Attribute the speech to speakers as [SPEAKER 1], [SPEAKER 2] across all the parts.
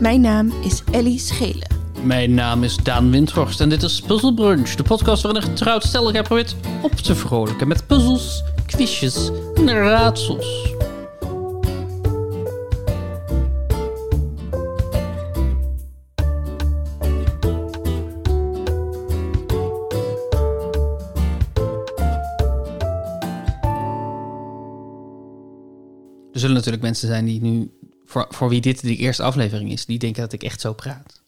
[SPEAKER 1] Mijn naam is Ellie Schelen.
[SPEAKER 2] Mijn naam is Daan Windhorst en dit is Puzzle Brunch, de podcast waarin een getrouwd stel gaat probeert op te vrolijken met puzzels, quizjes en raadsels. Er zullen natuurlijk mensen zijn die nu, voor, voor wie dit de eerste aflevering is, die denken dat ik echt zo praat.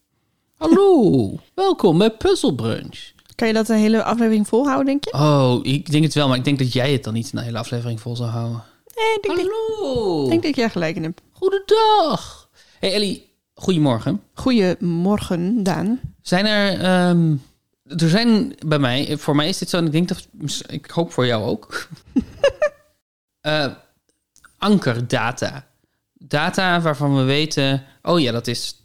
[SPEAKER 2] Hallo, welkom bij Puzzle Brunch.
[SPEAKER 1] Kan je dat een hele aflevering volhouden, denk je?
[SPEAKER 2] Oh, ik denk het wel, maar ik denk dat jij het dan niet een hele aflevering vol zou houden.
[SPEAKER 1] Nee, ik denk, dat-
[SPEAKER 2] Hallo,
[SPEAKER 1] ik denk dat ik jij gelijk in hebt.
[SPEAKER 2] goedendag. Hey Ellie, goedemorgen.
[SPEAKER 1] Goedemorgen, Daan.
[SPEAKER 2] Zijn er, ehm, er zijn bij mij, voor mij is dit zo, en ik denk dat, ik hoop voor jou ook, Eh, ankerdata. Data waarvan we weten, oh ja, dat is,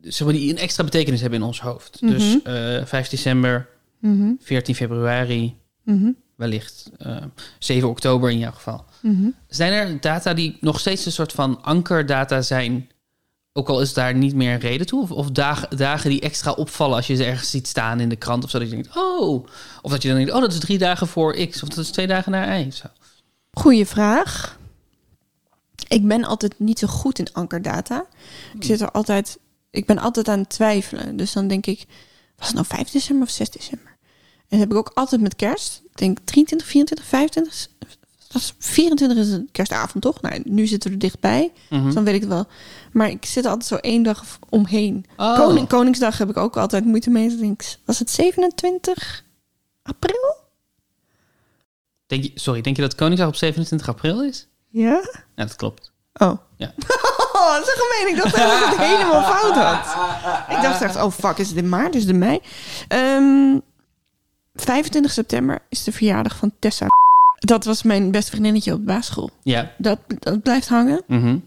[SPEAKER 2] zeg maar, die een extra betekenis hebben in ons hoofd. Dus eh 5 december, Mhm. 14 februari,
[SPEAKER 1] Mhm,
[SPEAKER 2] wellicht eh, 7 oktober in jouw geval.
[SPEAKER 1] mhm.
[SPEAKER 2] Zijn er data die nog steeds een soort van ankerdata zijn ook al is daar niet meer een reden toe. Of, of dag- dagen die extra opvallen als je ze ergens ziet staan in de krant of zo. Dat je denkt, oh. Of dat je dan denkt, oh, dat is drie dagen voor X. Of dat is twee dagen na Y. of Zo.
[SPEAKER 1] Goeie vraag. Ik ben altijd niet zo goed in ankerdata. Ik zit er altijd... Ik ben altijd aan het twijfelen. Dus dan denk ik, was het nou 5 december of 6 december? En dat heb ik ook altijd met kerst. Ik denk 23, 24, 25... Dat is 24 is een kerstavond, toch? Nou, nu zitten we er dichtbij.
[SPEAKER 2] Mhm.
[SPEAKER 1] Dus dan weet ik het wel. Maar ik zit er altijd zo één dag v- omheen.
[SPEAKER 2] Oh.
[SPEAKER 1] Koning, Koningsdag heb ik ook altijd moeite mee. Dan denk ik, was het 27 april?
[SPEAKER 2] Denk je, sorry, denk je dat Koningsdag op 27 april is?
[SPEAKER 1] Ja.
[SPEAKER 2] Ja, dat klopt.
[SPEAKER 1] Oh.
[SPEAKER 2] Ja.
[SPEAKER 1] Oh, dat is gemeen. Ik dacht echt dat ik het helemaal fout had. Ik dacht echt, oh fuck, is het in maart? Is het in mei? Ehm, 25 september is de verjaardag van Tessa. Dat was mijn beste vriendinnetje op de basisschool.
[SPEAKER 2] Ja.
[SPEAKER 1] Dat, dat blijft hangen.
[SPEAKER 2] mhm.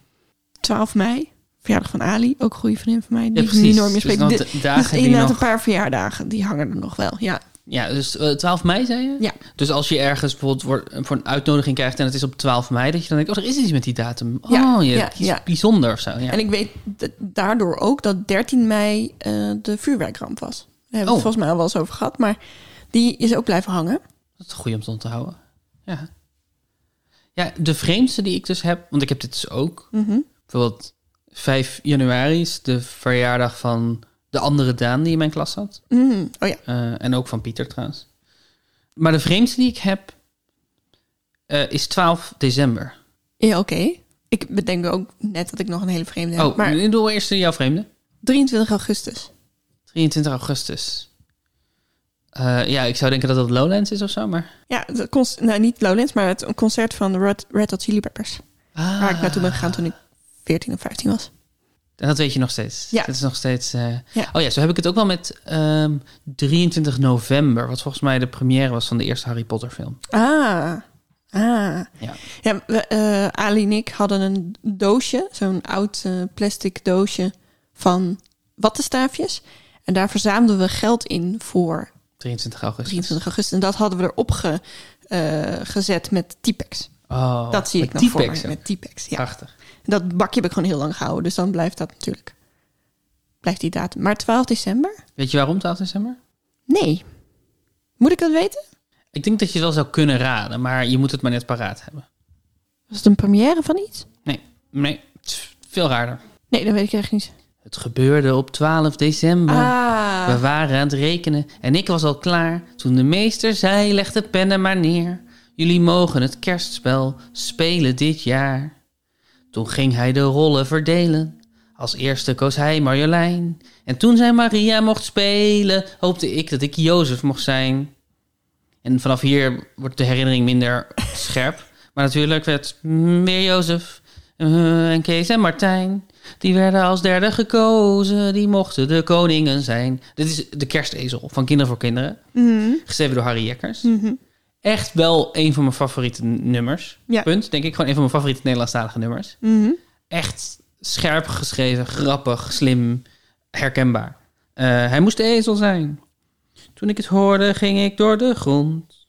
[SPEAKER 1] 12 mei, verjaardag van Ali, ook een goede vriendin van mij. Die
[SPEAKER 2] ja
[SPEAKER 1] ik nu
[SPEAKER 2] precies.
[SPEAKER 1] nooit meer
[SPEAKER 2] dus
[SPEAKER 1] spreek.
[SPEAKER 2] dan
[SPEAKER 1] Dit-
[SPEAKER 2] de
[SPEAKER 1] Dus
[SPEAKER 2] dagen die
[SPEAKER 1] inderdaad,
[SPEAKER 2] nog...
[SPEAKER 1] een paar verjaardagen, die hangen er nog wel. Ja,
[SPEAKER 2] Ja, dus eh, 12 mei zei je?
[SPEAKER 1] Ja.
[SPEAKER 2] Dus als je ergens bijvoorbeeld wordt- voor een uitnodiging krijgt en het is op 12 mei, dat je dan denkt, oh, er is iets met die datum. Oh,
[SPEAKER 1] Ja,
[SPEAKER 2] ja,
[SPEAKER 1] ja,
[SPEAKER 2] kiest
[SPEAKER 1] ja.
[SPEAKER 2] bijzonder of zo. Ja.
[SPEAKER 1] en ik weet d- daardoor ook dat 13 mei eh, de vuurwerkramp was. Daar hebben we het
[SPEAKER 2] Oh.
[SPEAKER 1] volgens mij al wel eens over gehad, maar die is ook blijven hangen.
[SPEAKER 2] Dat is goed om te onthouden. Ja. Ja, de vreemdste die ik dus heb, want ik heb dit dus ook.
[SPEAKER 1] Mhm.
[SPEAKER 2] Bijvoorbeeld 5 januari is de verjaardag van de andere Daan die in mijn klas zat.
[SPEAKER 1] Mm, oh ja,
[SPEAKER 2] Eh, en ook van Pieter trouwens. Maar de vreemdste die ik heb eh, is 12 december.
[SPEAKER 1] ja oké. Ik bedenk ook net dat ik nog een hele vreemde heb.
[SPEAKER 2] oh, maar...
[SPEAKER 1] maar
[SPEAKER 2] ik doe eerst jouw vreemde.
[SPEAKER 1] 23 augustus.
[SPEAKER 2] 23 augustus. Eh, ja, ik zou denken dat dat Lowlands is of zo, maar...
[SPEAKER 1] Ja, de cons- nou, niet Lowlands, maar het concert van de Red, Red Hot Chili Peppers.
[SPEAKER 2] Ah.
[SPEAKER 1] Waar ik naartoe ben gegaan toen ik 14 of 15 was.
[SPEAKER 2] En dat weet je nog steeds.
[SPEAKER 1] Ja.
[SPEAKER 2] Dat is nog steeds. eh,
[SPEAKER 1] Ja.
[SPEAKER 2] Oh ja, zo heb ik het ook wel met ehm, 23 november, wat volgens mij de première was van de eerste Harry Potter film.
[SPEAKER 1] Ah, ah.
[SPEAKER 2] Ja.
[SPEAKER 1] Ja, we, eh, Ali en ik hadden een doosje, zo'n oud eh, plastic doosje van wattenstaafjes. En daar verzamelden we geld in voor
[SPEAKER 2] 23 augustus.
[SPEAKER 1] 23 augustus. En dat hadden we erop ge, eh, gezet met T-Pex.
[SPEAKER 2] Oh,
[SPEAKER 1] dat zie ik
[SPEAKER 2] met
[SPEAKER 1] nog voor
[SPEAKER 2] T-Pex
[SPEAKER 1] me,
[SPEAKER 2] ook.
[SPEAKER 1] met T-Pex. Ja.
[SPEAKER 2] Prachtig.
[SPEAKER 1] Dat bakje heb ik gewoon heel lang gehouden, dus dan blijft dat natuurlijk. Blijft die datum. Maar 12 december?
[SPEAKER 2] Weet je waarom 12 december?
[SPEAKER 1] Nee. Moet ik dat weten?
[SPEAKER 2] Ik denk dat je wel zou kunnen raden, maar je moet het maar net paraat hebben.
[SPEAKER 1] Was het een première van iets?
[SPEAKER 2] Nee, nee, het is veel raarder.
[SPEAKER 1] Nee, dat weet ik echt niet.
[SPEAKER 2] Het gebeurde op 12 december.
[SPEAKER 1] Ah.
[SPEAKER 2] We waren aan het rekenen en ik was al klaar toen de meester zei: Leg de pennen maar neer. Jullie mogen het kerstspel spelen dit jaar. Toen ging hij de rollen verdelen. Als eerste koos hij Marjolein. En toen zij Maria mocht spelen, hoopte ik dat ik Jozef mocht zijn. En vanaf hier wordt de herinnering minder scherp. Maar natuurlijk werd meer Jozef eh, en Kees en Martijn. Die werden als derde gekozen. Die mochten de koningen zijn. Dit is de kerstezel van Kinderen voor Kinderen.
[SPEAKER 1] Mhm,
[SPEAKER 2] Geschreven door Harry Jekkers.
[SPEAKER 1] Hm.
[SPEAKER 2] Echt wel een van mijn favoriete n- nummers.
[SPEAKER 1] Ja.
[SPEAKER 2] Punt. Denk ik gewoon een van mijn favoriete Nederlandstalige nummers.
[SPEAKER 1] mhm.
[SPEAKER 2] Echt scherp geschreven, grappig, slim, herkenbaar. Eh, hij moest de ezel zijn. Toen ik het hoorde, ging ik door de grond.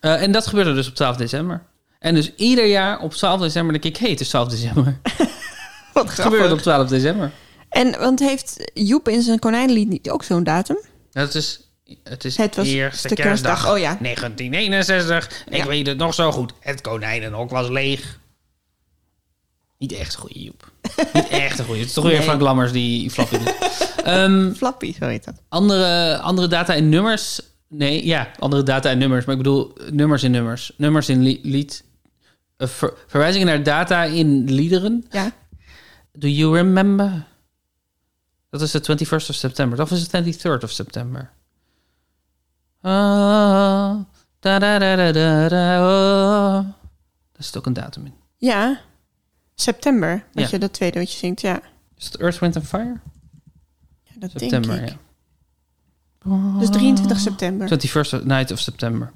[SPEAKER 2] Eh, en dat gebeurde dus op 12 december. En dus ieder jaar op 12 december denk ik... Hé, hey, het is 12 december.
[SPEAKER 1] Wat
[SPEAKER 2] Het gebeurde op 12 december.
[SPEAKER 1] En want heeft Joep in zijn konijnenlied niet ook zo'n datum?
[SPEAKER 2] Dat is, Nou, het is
[SPEAKER 1] Het was
[SPEAKER 2] eerste
[SPEAKER 1] de kerstdag.
[SPEAKER 2] kerstdag.
[SPEAKER 1] Oh ja.
[SPEAKER 2] 1961. Ik
[SPEAKER 1] Ja.
[SPEAKER 2] weet het nog zo goed. Het konijnenhok was leeg. Niet echt een goede Joep. Niet echt een goede. Het is toch weer
[SPEAKER 1] Nee.
[SPEAKER 2] Frank Lammers die flappy doet. Ehm,
[SPEAKER 1] Flappy, zo heet dat.
[SPEAKER 2] andere, andere data en nummers. Nee, ja, andere data en nummers. Maar ik bedoel eh, nummers in nummers. Nummers in li- lied. Eh, ver- verwijzingen naar data in liederen.
[SPEAKER 1] Ja.
[SPEAKER 2] Do you remember? Dat is de 21st of september. Of is het 23rd of september? Oh, da da da da da da. oh. Daar zit ook een datum in.
[SPEAKER 1] Ja. September, dat
[SPEAKER 2] Ja.
[SPEAKER 1] je dat tweede wat je zingt, ja.
[SPEAKER 2] Is het Earth, Wind and Fire?
[SPEAKER 1] ja dat
[SPEAKER 2] September,
[SPEAKER 1] denk ik.
[SPEAKER 2] ja.
[SPEAKER 1] Dus 23 september.
[SPEAKER 2] 21st of- night of september.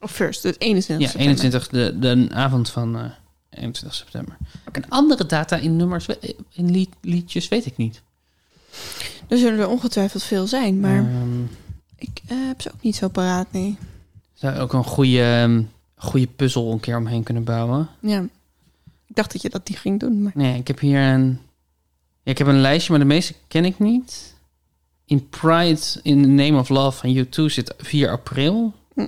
[SPEAKER 1] Of first, dus 21
[SPEAKER 2] Ja,
[SPEAKER 1] september.
[SPEAKER 2] 21, de, de avond van eh 21 september. En andere data in nummers, we- in lied- liedjes, weet ik niet.
[SPEAKER 1] Er zullen er ongetwijfeld veel zijn, maar
[SPEAKER 2] Ehm,
[SPEAKER 1] ik eh, heb ze ook niet zo paraat, nee.
[SPEAKER 2] zou je ook een goede, ehm, goede puzzel een keer omheen kunnen bouwen.
[SPEAKER 1] Ja. Ik dacht dat je dat die ging doen, maar...
[SPEAKER 2] Nee, ik heb hier een. Ja, ik heb een lijstje, maar de meeste ken ik niet. In Pride in the Name of Love van U2 zit 4 april.
[SPEAKER 1] Hm.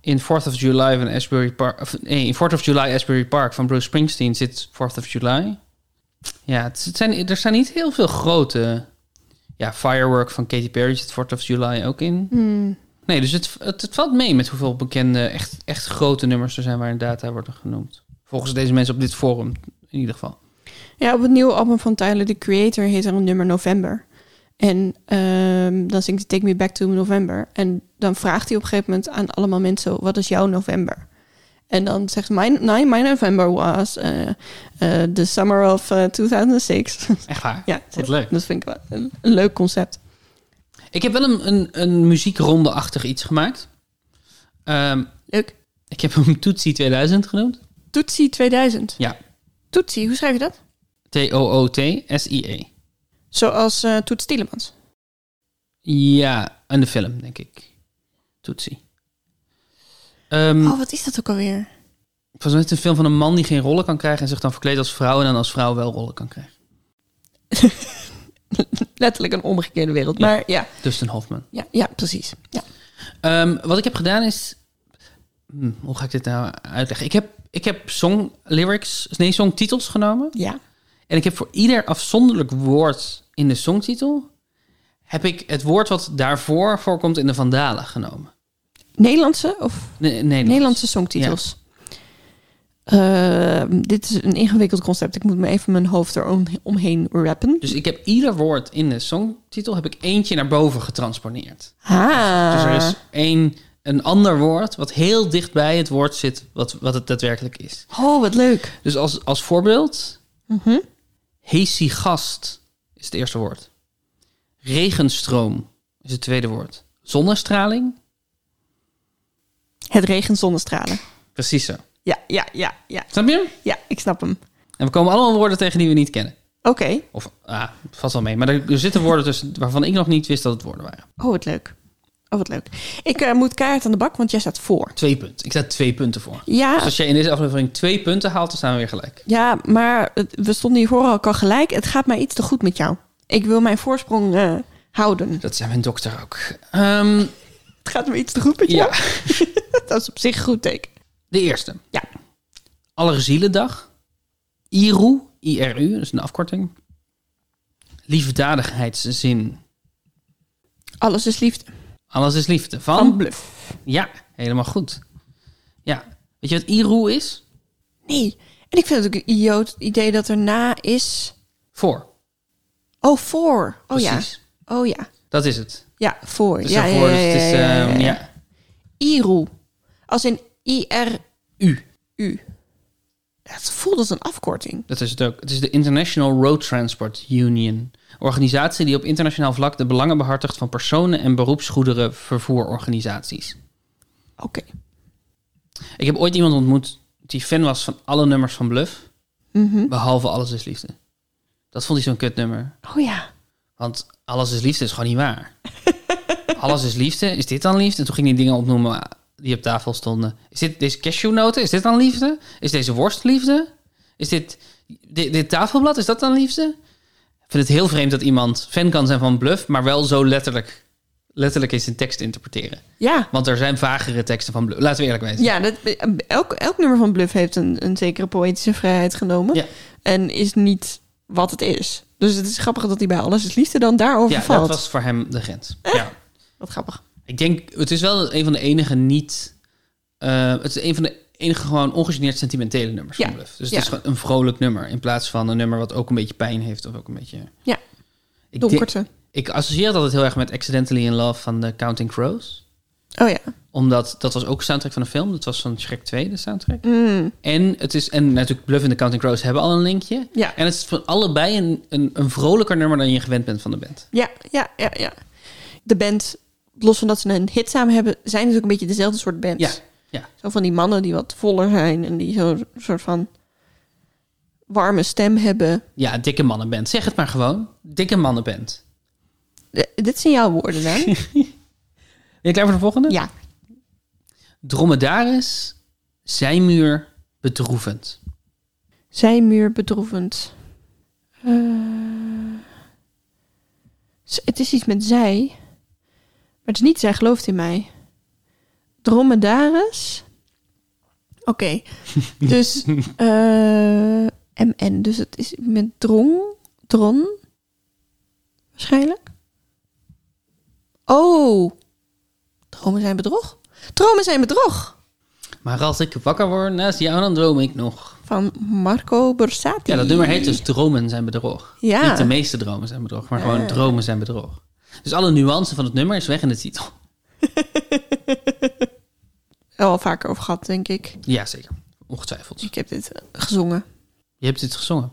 [SPEAKER 2] In 4th of July van Asbury Park. Of, nee, in 4th of July Asbury Park van Bruce Springsteen zit 4th of July. Ja, het, het zijn, er zijn niet heel veel grote. Ja, Firework van Katy Perry zit 4th of July ook in.
[SPEAKER 1] Hmm.
[SPEAKER 2] Nee, dus het, het, het valt mee met hoeveel bekende, echt, echt grote nummers er zijn waarin data worden genoemd. Volgens deze mensen op dit forum in ieder geval.
[SPEAKER 1] Ja, op het nieuwe album van Tyler, The Creator, heet er een nummer November. En ehm, dan zingt hij Take Me Back to November. En dan vraagt hij op een gegeven moment aan allemaal mensen... wat is jouw november? En dan zegt mijn, nee, mijn november was eh, eh, the summer of eh, 2006.
[SPEAKER 2] Echt waar?
[SPEAKER 1] ja,
[SPEAKER 2] Wat leuk.
[SPEAKER 1] dat vind ik wel een, een leuk concept.
[SPEAKER 2] Ik heb wel een, een, een muziekronde-achtig iets gemaakt. Ehm,
[SPEAKER 1] Leuk.
[SPEAKER 2] ik heb hem Tootsie 2000 genoemd.
[SPEAKER 1] Tootsie 2000.
[SPEAKER 2] Ja.
[SPEAKER 1] Tootsie, hoe schrijf je dat?
[SPEAKER 2] T-O-O-T-S-I-E.
[SPEAKER 1] Zoals eh Toets Tielemans.
[SPEAKER 2] Ja, en de film, denk ik. Tootsie. Ehm
[SPEAKER 1] Oh, wat is dat ook alweer?
[SPEAKER 2] Volgens mij is het een film van een man die geen rollen kan krijgen... en zich dan verkleedt als vrouw en dan als vrouw wel rollen kan krijgen.
[SPEAKER 1] Letterlijk een omgekeerde wereld.
[SPEAKER 2] Ja.
[SPEAKER 1] Maar ja,
[SPEAKER 2] Dustin Hoffman.
[SPEAKER 1] ja, ja precies. Ja.
[SPEAKER 2] Ehm, wat ik heb gedaan is... Hm, hoe ga ik dit nou uitleggen? Ik heb, ik heb song lyrics, nee, songtitels genomen...
[SPEAKER 1] ja.
[SPEAKER 2] En ik heb voor ieder afzonderlijk woord in de songtitel... heb ik het woord wat daarvoor voorkomt in de vandalen genomen.
[SPEAKER 1] Nederlandse of
[SPEAKER 2] Nee, Nederlands.
[SPEAKER 1] Nederlandse songtitels. Ehm, dit is een ingewikkeld concept. Ik moet me even mijn hoofd eromheen rappen.
[SPEAKER 2] Dus ik heb ieder woord in de songtitel... heb ik eentje naar boven getransponeerd.
[SPEAKER 1] Ha.
[SPEAKER 2] Dus er
[SPEAKER 1] Ah.
[SPEAKER 2] is één, een ander woord... wat heel dicht bij het woord zit wat, wat het daadwerkelijk is.
[SPEAKER 1] Oh, wat leuk.
[SPEAKER 2] Dus als, als voorbeeld...
[SPEAKER 1] Mhm.
[SPEAKER 2] Hesigast is het eerste woord. Regenstroom is het tweede woord. Zonnestraling?
[SPEAKER 1] Het regent zonnestralen.
[SPEAKER 2] Precies zo.
[SPEAKER 1] Ja, ja, ja, ja.
[SPEAKER 2] Snap je hem?
[SPEAKER 1] Ja, ik snap hem.
[SPEAKER 2] En we komen allemaal woorden tegen die we niet kennen.
[SPEAKER 1] Oké.
[SPEAKER 2] Of, ah, valt wel mee. Maar er, er zitten woorden tussen waarvan ik nog niet wist dat het woorden waren.
[SPEAKER 1] Oh, wat leuk. Oh, wat leuk. Ik eh, moet keihard aan de bak, want jij staat voor.
[SPEAKER 2] Twee punten. Ik zet twee punten voor.
[SPEAKER 1] Ja,
[SPEAKER 2] Dus als jij in deze aflevering twee punten haalt, dan staan we weer gelijk.
[SPEAKER 1] ja maar het- we stonden hiervoor ook al gelijk. Het gaat mij iets te goed met jou. Ik wil mijn voorsprong eh, houden.
[SPEAKER 2] Dat zijn mijn dokter ook. Ehm,
[SPEAKER 1] Het gaat me iets te goed met
[SPEAKER 2] ja,
[SPEAKER 1] jou. Dat is op zich een goed teken.
[SPEAKER 2] de eerste.
[SPEAKER 1] Ja.
[SPEAKER 2] Allerzielendag. IRU, IRU, dat is een afkorting. Liefdadigheidszin.
[SPEAKER 1] Alles is liefde.
[SPEAKER 2] Alles is liefde. Van?
[SPEAKER 1] Van bluff.
[SPEAKER 2] Ja, helemaal goed. Ja. Weet je wat IRU is?
[SPEAKER 1] Nee. En ik vind het ook een idioot idee dat er na is.
[SPEAKER 2] Voor.
[SPEAKER 1] Oh, voor. Oh
[SPEAKER 2] Precies.
[SPEAKER 1] ja. Oh ja.
[SPEAKER 2] Dat is het.
[SPEAKER 1] Ja, voor.
[SPEAKER 2] Dus
[SPEAKER 1] ja,
[SPEAKER 2] ja,
[SPEAKER 1] ja,
[SPEAKER 2] dus het is,
[SPEAKER 1] ja, ja,
[SPEAKER 2] ehm,
[SPEAKER 1] ja.
[SPEAKER 2] ja.
[SPEAKER 1] Iru. Als in I-R-U.
[SPEAKER 2] U.
[SPEAKER 1] Dat voelt als een afkorting.
[SPEAKER 2] Dat is het ook. Het is de International Road Transport Union. Een organisatie die op internationaal vlak de belangen behartigt van personen- en beroepsgoederenvervoerorganisaties.
[SPEAKER 1] Oké.
[SPEAKER 2] Ik heb ooit iemand ontmoet die fan was van alle nummers van Bluff,
[SPEAKER 1] Mhm.
[SPEAKER 2] behalve Alles is Liefde. Dat vond hij zo'n kutnummer.
[SPEAKER 1] Oh ja.
[SPEAKER 2] Want Alles is Liefde is gewoon niet waar. Alles is Liefde, is dit dan liefde? En toen ging hij dingen opnoemen die op tafel stonden. Is dit deze cashewnoten, is dit dan liefde? Is deze worst liefde? Is dit, dit, dit tafelblad, is dat dan liefde? vind het heel vreemd dat iemand fan kan zijn van Bluff, maar wel zo letterlijk, letterlijk is een tekst interpreteren.
[SPEAKER 1] Ja,
[SPEAKER 2] Want er zijn vagere teksten van Bluff. Laten we eerlijk zijn.
[SPEAKER 1] ja dat, elk, elk nummer van Bluff heeft een, een zekere poëtische vrijheid genomen.
[SPEAKER 2] Ja.
[SPEAKER 1] En is niet wat het is. Dus het is grappig dat hij bij Alles is Liefde dan daarover
[SPEAKER 2] Ja,
[SPEAKER 1] valt.
[SPEAKER 2] dat was voor hem de grens. Ja.
[SPEAKER 1] Wat grappig.
[SPEAKER 2] Ik denk, het is wel een van de enige niet... eh, het is een van de enige gewoon ongegeneerd sentimentele nummers
[SPEAKER 1] Ja.
[SPEAKER 2] van Bluff. Dus het
[SPEAKER 1] Ja.
[SPEAKER 2] is gewoon een vrolijk nummer. In plaats van een nummer wat ook een beetje pijn heeft of ook een beetje...
[SPEAKER 1] Ja.
[SPEAKER 2] Ik, denk-
[SPEAKER 1] Donkerte.
[SPEAKER 2] ik associeer dat heel erg met Accidentally in Love van de Counting Crows.
[SPEAKER 1] Oh ja.
[SPEAKER 2] Omdat dat was ook de soundtrack van een film. Dat was van Shrek 2, de soundtrack.
[SPEAKER 1] Mm,
[SPEAKER 2] En, het is, en natuurlijk Bluff en de Counting Crows hebben al een linkje.
[SPEAKER 1] Ja.
[SPEAKER 2] En het is van allebei een, een, een vrolijker nummer dan je gewend bent van de band.
[SPEAKER 1] Ja, ja, ja, ja. De band, los van dat ze een hit samen hebben, zijn dus ook een beetje dezelfde soort bands.
[SPEAKER 2] Ja, ja.
[SPEAKER 1] Zo van die mannen die wat voller zijn en die zo'n soort van warme stem hebben.
[SPEAKER 2] Ja, dikke mannenband. Zeg het maar gewoon. Dikke mannenband.
[SPEAKER 1] Eh, dit zijn jouw woorden, hè?
[SPEAKER 2] Ben je klaar voor de volgende?
[SPEAKER 1] ja.
[SPEAKER 2] Dromedaris, zijmuur, bedroevend.
[SPEAKER 1] Zijmuur bedroevend. Eh, z- het is iets met zij. Maar het is niet zij gelooft in mij. Dromedaris. Oké. dus eh, MN. Dus het is met drong. Dron. Waarschijnlijk. Oh. Dromen zijn bedrog. Dromen zijn bedrog.
[SPEAKER 2] Maar als ik wakker word naast jou, dan droom ik nog.
[SPEAKER 1] Van Marco Borsati.
[SPEAKER 2] Ja, dat nummer heet dus Dromen zijn bedrog.
[SPEAKER 1] Ja.
[SPEAKER 2] Niet de meeste dromen zijn bedrog, maar
[SPEAKER 1] Ah.
[SPEAKER 2] gewoon dromen zijn bedrog. Dus alle nuance van het Oh, nummer is weg in de titel.
[SPEAKER 1] al vaker over gehad, denk ik.
[SPEAKER 2] Ja, zeker. Ongetwijfeld.
[SPEAKER 1] Ik heb dit eh, gezongen
[SPEAKER 2] Je hebt dit gezongen.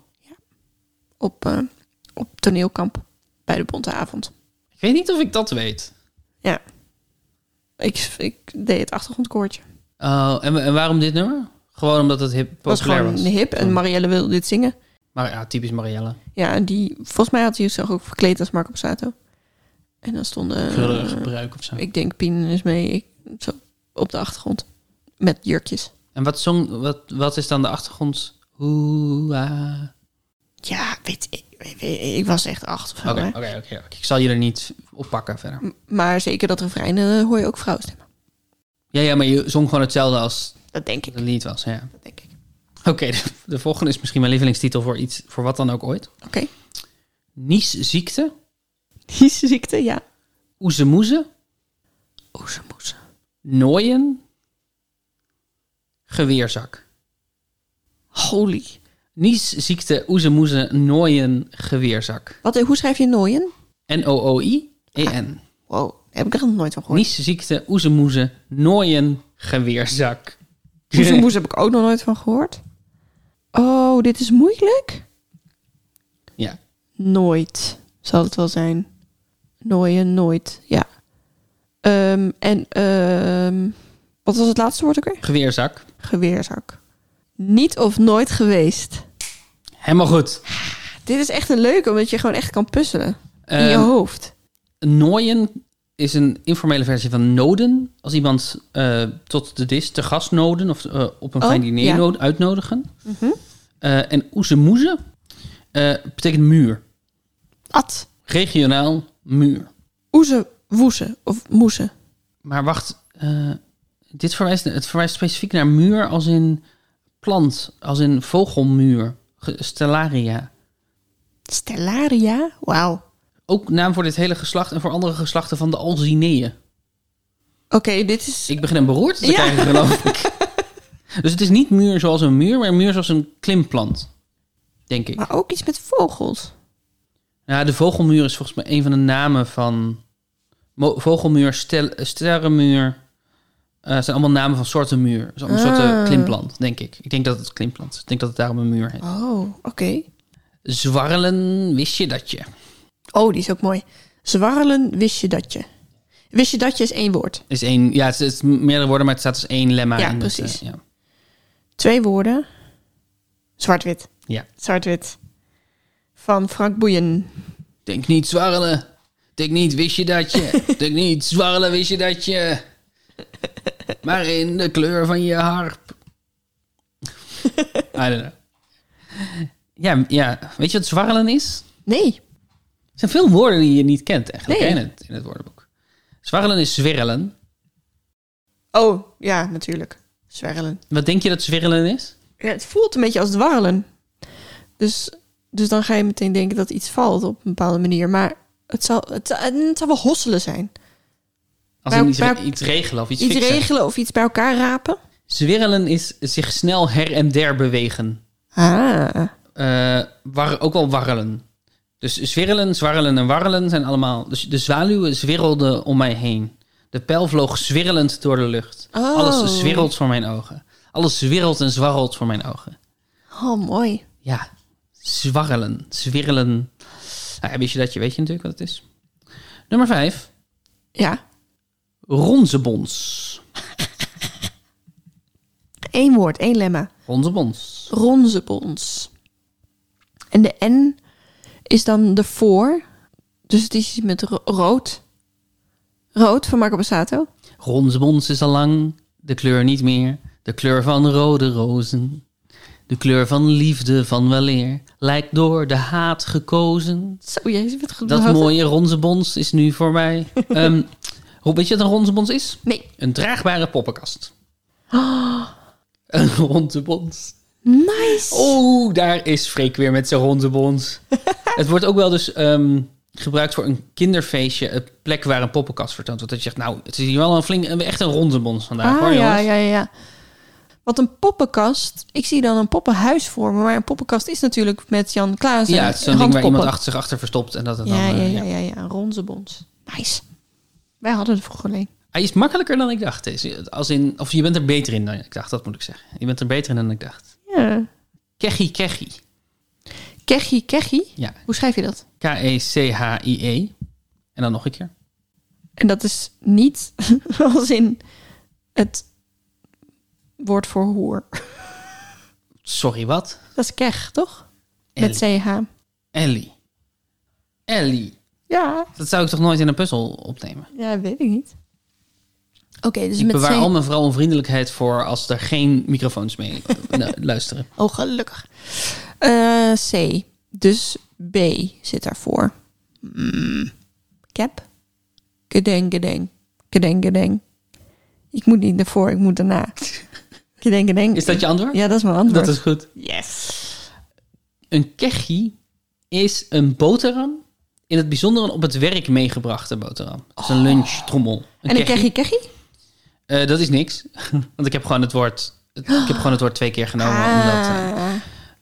[SPEAKER 1] op, eh, op toneelkamp bij de Bonte Avond.
[SPEAKER 2] Ik weet niet of ik dat weet.
[SPEAKER 1] Ja. Ik, ik deed het achtergrondkoortje. Het
[SPEAKER 2] Oh, en, en waarom dit nummer? Gewoon omdat het hip,
[SPEAKER 1] was
[SPEAKER 2] populair
[SPEAKER 1] gewoon
[SPEAKER 2] was. Oh.
[SPEAKER 1] hip en Marielle wilde dit zingen.
[SPEAKER 2] Maar ja, typisch Marielle.
[SPEAKER 1] Ja, en die, volgens mij had hij zich ook verkleed als Marco Passato. En dan stonden,
[SPEAKER 2] Vullig
[SPEAKER 1] eh,
[SPEAKER 2] gebruik of zo.
[SPEAKER 1] ik denk, Pien is mee ik, zo, op de achtergrond. Met jurkjes.
[SPEAKER 2] En wat, zong, wat, wat is dan de achtergrond? Oeh, ah.
[SPEAKER 1] Ja, weet ik. weet- weet- Ik was echt acht of zo.
[SPEAKER 2] Oké,
[SPEAKER 1] hè.
[SPEAKER 2] oké, oké. oké. Ik zal je er niet op pakken verder.
[SPEAKER 1] M- Maar zeker dat refrein eh, hoor je ook vrouwenstemmen.
[SPEAKER 2] Ja, ja, maar je zong gewoon hetzelfde als
[SPEAKER 1] Dat denk ik.
[SPEAKER 2] het lied was. Ja.
[SPEAKER 1] Dat denk ik.
[SPEAKER 2] Oké, de, de volgende is misschien mijn lievelingstitel voor iets, voor wat dan ook ooit.
[SPEAKER 1] Oké.
[SPEAKER 2] Niesziekte,
[SPEAKER 1] Die ziekte, ja.
[SPEAKER 2] oezemoeze,
[SPEAKER 1] Oezemoeze.
[SPEAKER 2] nooien, geweerzak.
[SPEAKER 1] Holy.
[SPEAKER 2] Niesziekte, oezemoeze, nooien, geweerzak.
[SPEAKER 1] Wat, hoe schrijf je nooien?
[SPEAKER 2] N-O-O-I-E-N.
[SPEAKER 1] Wow, heb ik er nog nooit van gehoord.
[SPEAKER 2] E Niesziekte, oezemoeze, nooien, geweerzak.
[SPEAKER 1] Oezemoes heb ik ook nog nooit van gehoord. Oh, dit is moeilijk.
[SPEAKER 2] Ja,
[SPEAKER 1] Nooit, zal het wel zijn. Nooien, nooit, ja. Ehm, en ehm, wat was het laatste woord ook weer?
[SPEAKER 2] geweerzak.
[SPEAKER 1] Geweerzak. Niet of nooit geweest.
[SPEAKER 2] Helemaal goed.
[SPEAKER 1] Dit is echt een leuke, omdat je gewoon echt kan puzzelen. in je
[SPEAKER 2] Ehm,
[SPEAKER 1] hoofd.
[SPEAKER 2] Nooien is een informele versie van noden. Als iemand eh, tot de dis te gast noden of eh, op een
[SPEAKER 1] Oh,
[SPEAKER 2] fijn diner
[SPEAKER 1] ja.
[SPEAKER 2] nood- uitnodigen.
[SPEAKER 1] Mhm.
[SPEAKER 2] Eh, en oezemoeze eh, betekent muur.
[SPEAKER 1] At,
[SPEAKER 2] Regionaal muur.
[SPEAKER 1] oeze, woeze of moeze.
[SPEAKER 2] Maar wacht, eh, dit verwijst, het verwijst specifiek naar muur als in plant, als in vogelmuur, ge- stellaria.
[SPEAKER 1] Stellaria? Wauw.
[SPEAKER 2] Ook naam voor dit hele geslacht en voor andere geslachten van de alzineeën.
[SPEAKER 1] Oké, dit is...
[SPEAKER 2] Ik begin een beroerte te
[SPEAKER 1] Ja.
[SPEAKER 2] krijgen, geloof ik. Dus het is niet muur zoals een muur, maar een muur zoals een klimplant. Denk ik.
[SPEAKER 1] Maar ook iets met vogels.
[SPEAKER 2] Ja, de vogelmuur is volgens mij een van de namen van... mo- Vogelmuur, stel, eh, sterrenmuur... eh, zijn allemaal namen van soorten muur. Dat is allemaal soorten
[SPEAKER 1] Ah.
[SPEAKER 2] klimplant, denk ik. Ik denk dat het klimplant is. Ik denk dat het daarom een muur heet.
[SPEAKER 1] Oh, oké.
[SPEAKER 2] Zwarrelen, wist je dat je?
[SPEAKER 1] Oh, die is ook mooi. Zwarrelen, wist je dat je. Wist je dat je is één woord.
[SPEAKER 2] Is één, ja, het is, het is meerdere woorden, maar het staat als één lemma.
[SPEAKER 1] Ja,
[SPEAKER 2] in het,
[SPEAKER 1] precies.
[SPEAKER 2] eh, ja.
[SPEAKER 1] Twee woorden. Zwart-wit.
[SPEAKER 2] ja.
[SPEAKER 1] Zwart-wit. Van Frank Boeien.
[SPEAKER 2] Denk niet zwarrelen. Denk niet, wist je dat je? Denk niet zwarrelen, wist je dat je? Maar in de kleur van je harp. I don't know. Ja, ja. weet je wat zwarrelen is?
[SPEAKER 1] Nee.
[SPEAKER 2] Er zijn veel woorden die je niet kent eigenlijk
[SPEAKER 1] Nee.
[SPEAKER 2] hè, in, het, in het woordenboek. Zwarrelen is zwirrelen.
[SPEAKER 1] Oh, ja, natuurlijk. Zwerrelen.
[SPEAKER 2] Wat denk je dat zwirrelen is?
[SPEAKER 1] Ja, het voelt een beetje als dwarrelen. Dus, dus dan ga je meteen denken dat iets valt op een bepaalde manier. Maar het zal, het, het zal wel hosselen zijn.
[SPEAKER 2] Als
[SPEAKER 1] Bij-
[SPEAKER 2] in iets, re-
[SPEAKER 1] bij-
[SPEAKER 2] iets regelen of iets,
[SPEAKER 1] Iets
[SPEAKER 2] fixen.
[SPEAKER 1] regelen of iets bij elkaar rapen.
[SPEAKER 2] Zwirrelen is zich snel her en der bewegen.
[SPEAKER 1] Ah.
[SPEAKER 2] Eh, war- ook wel warrelen. Dus zwirrelen, zwarrelen en warrelen zijn allemaal... Dus de zwaluwen zwirrelden om mij heen. De pijl vloog zwirrelend door de lucht.
[SPEAKER 1] Oh.
[SPEAKER 2] Alles zwirrelt voor mijn ogen. Alles zwirrelt en zwarrelt voor mijn ogen.
[SPEAKER 1] Oh, mooi.
[SPEAKER 2] Ja, zwarrelen, zwirrelen. Nou, ja, wist je dat je weet je natuurlijk wat het is. Nummer vijf,
[SPEAKER 1] Ja,
[SPEAKER 2] ronzebons.
[SPEAKER 1] één woord, één lemma.
[SPEAKER 2] Ronzebons.
[SPEAKER 1] Ronzebons. En de N is dan de voor. Dus het is iets met ro- rood. Rood van Marco Bassato.
[SPEAKER 2] Ronzebons is al lang de kleur niet meer. De kleur van rode rozen. De kleur van liefde van weleer. Lijkt door de haat gekozen.
[SPEAKER 1] Zo, jezus, wat goed
[SPEAKER 2] Dat
[SPEAKER 1] behouden.
[SPEAKER 2] mooie ronzebons is nu voorbij. Ehm Rob, weet je wat een ronzebons is?
[SPEAKER 1] Nee.
[SPEAKER 2] Een draagbare poppenkast. Een ronzebons.
[SPEAKER 1] Nice.
[SPEAKER 2] Oh, Oeh, daar is Freek weer met zijn ronzebons. het wordt ook wel dus ehm, gebruikt voor een kinderfeestje. Een plek waar een poppenkast vertoond wordt. Dat je zegt, nou, het is hier wel een flink, echt een ronzebons vandaag hoor
[SPEAKER 1] ah, ja,
[SPEAKER 2] jongens.
[SPEAKER 1] ja, ja, ja. Want een poppenkast, ik zie dan een poppenhuis voor me, maar een poppenkast is natuurlijk met Jan Klaas. en
[SPEAKER 2] Ja, het is zo'n ding waar
[SPEAKER 1] handpoppen.
[SPEAKER 2] iemand achter zich achter verstopt. En dat het dan,
[SPEAKER 1] Ja, ja,
[SPEAKER 2] eh,
[SPEAKER 1] ja, ja, ja, een ronzebons. Nice. Wij hadden het vroeger alleen.
[SPEAKER 2] Hij is makkelijker dan ik dacht. Is- Als in, of je bent er beter in dan ik dacht, dat moet ik zeggen. Je bent er beter in dan ik dacht.
[SPEAKER 1] Ja.
[SPEAKER 2] Kechi Kechi.
[SPEAKER 1] Kechi, kechi.
[SPEAKER 2] Ja, E
[SPEAKER 1] Hoe schrijf je dat?
[SPEAKER 2] K-E-C-H-I-E. E. En dan nog een keer.
[SPEAKER 1] En dat is niet als in het woord voor hoer.
[SPEAKER 2] Sorry, wat?
[SPEAKER 1] Dat is kech, toch? Met
[SPEAKER 2] Ellie.
[SPEAKER 1] CH.
[SPEAKER 2] Ellie. Ellie.
[SPEAKER 1] Ja,
[SPEAKER 2] Dat zou ik toch nooit in een puzzel opnemen?
[SPEAKER 1] ja weet ik niet. Oké, dus
[SPEAKER 2] ik
[SPEAKER 1] met
[SPEAKER 2] bewaar
[SPEAKER 1] CH.
[SPEAKER 2] al mijn vrouwenvriendelijkheid voor als er geen microfoons mee eh, nou, luisteren.
[SPEAKER 1] Oh, gelukkig. Eh, C. Dus B zit daarvoor. Mm. Cap. Gedeng, gedeng. Gedeng, gedeng. Ik moet niet daarvoor, ik moet daarna. Gedeng, gedeng.
[SPEAKER 2] Is dat je antwoord?
[SPEAKER 1] Ja, dat is mijn antwoord.
[SPEAKER 2] Dat is goed.
[SPEAKER 1] Yes.
[SPEAKER 2] Een kechi is een boterham. In het bijzonder een op het werk meegebrachte boterham. Dat is een lunchtrommel. Een
[SPEAKER 1] En dan
[SPEAKER 2] kechi.
[SPEAKER 1] krijg je keggie?
[SPEAKER 2] Eh, dat is niks. Want ik heb gewoon het woord... Ik heb gewoon het woord twee keer genomen. Omdat, eh,
[SPEAKER 1] Ah.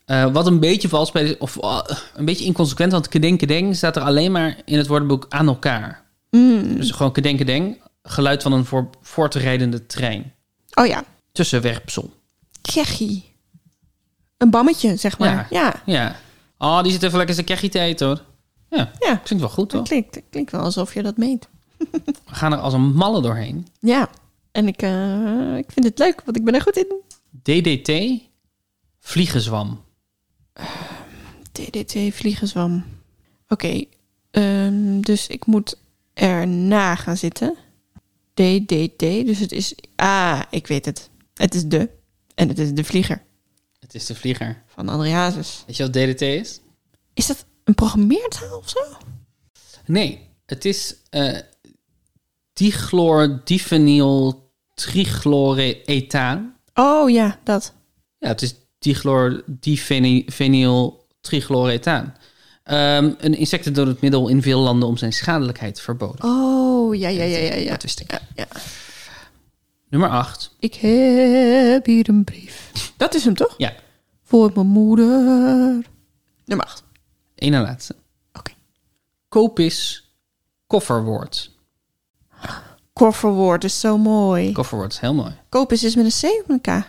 [SPEAKER 2] Eh, wat een beetje vals bij, of ah, een beetje inconsequent, want kedeng kedeng staat er alleen maar in het woordenboek aan elkaar.
[SPEAKER 1] Mm.
[SPEAKER 2] Dus gewoon kedeng kedeng, geluid van een voor, voortrijdende trein.
[SPEAKER 1] Oh ja,
[SPEAKER 2] Tussenwerpsel.
[SPEAKER 1] keggie. Een bammetje, zeg maar. Ja, ja.
[SPEAKER 2] Ja. Oh, die zit even lekker zijn keggie te eten hoor. Ja, klinkt wel goed
[SPEAKER 1] dat
[SPEAKER 2] toch?
[SPEAKER 1] klinkt, dat klinkt wel alsof je dat meent.
[SPEAKER 2] We gaan er als een malle doorheen.
[SPEAKER 1] Ja, en ik, eh, ik vind het leuk, want ik ben er goed in.
[SPEAKER 2] DDT, vliegenzwam.
[SPEAKER 1] DDT vliegenzwam. Oké, ehm, dus ik moet erna gaan zitten. DDT, dus het is... Ah, ik weet het. Het is de. En het is de vlieger
[SPEAKER 2] Het is de vlieger.
[SPEAKER 1] van André Hazes.
[SPEAKER 2] Weet je wat DDT is?
[SPEAKER 1] Is dat een programmeertaal of zo?
[SPEAKER 2] Nee, het is eh dichlor, difenyl, trichlorethaan.
[SPEAKER 1] Oh ja, dat.
[SPEAKER 2] Ja, het is dichlordifenyl trichlorethaan. Ehm een insectendodend middel in veel landen om zijn schadelijkheid verboden.
[SPEAKER 1] Oh, ja, ja, ja, ja. ja.
[SPEAKER 2] Dat wist ik.
[SPEAKER 1] ja, ja.
[SPEAKER 2] Nummer 8.
[SPEAKER 1] Ik heb hier een brief. Dat is hem toch?
[SPEAKER 2] Ja,
[SPEAKER 1] Voor mijn moeder. Nummer 8.
[SPEAKER 2] één na laatste.
[SPEAKER 1] Oké.
[SPEAKER 2] Kopis, kofferwoord.
[SPEAKER 1] Kofferwoord is zo mooi.
[SPEAKER 2] Kofferwoord is heel mooi.
[SPEAKER 1] Kopis is met een C of met een K?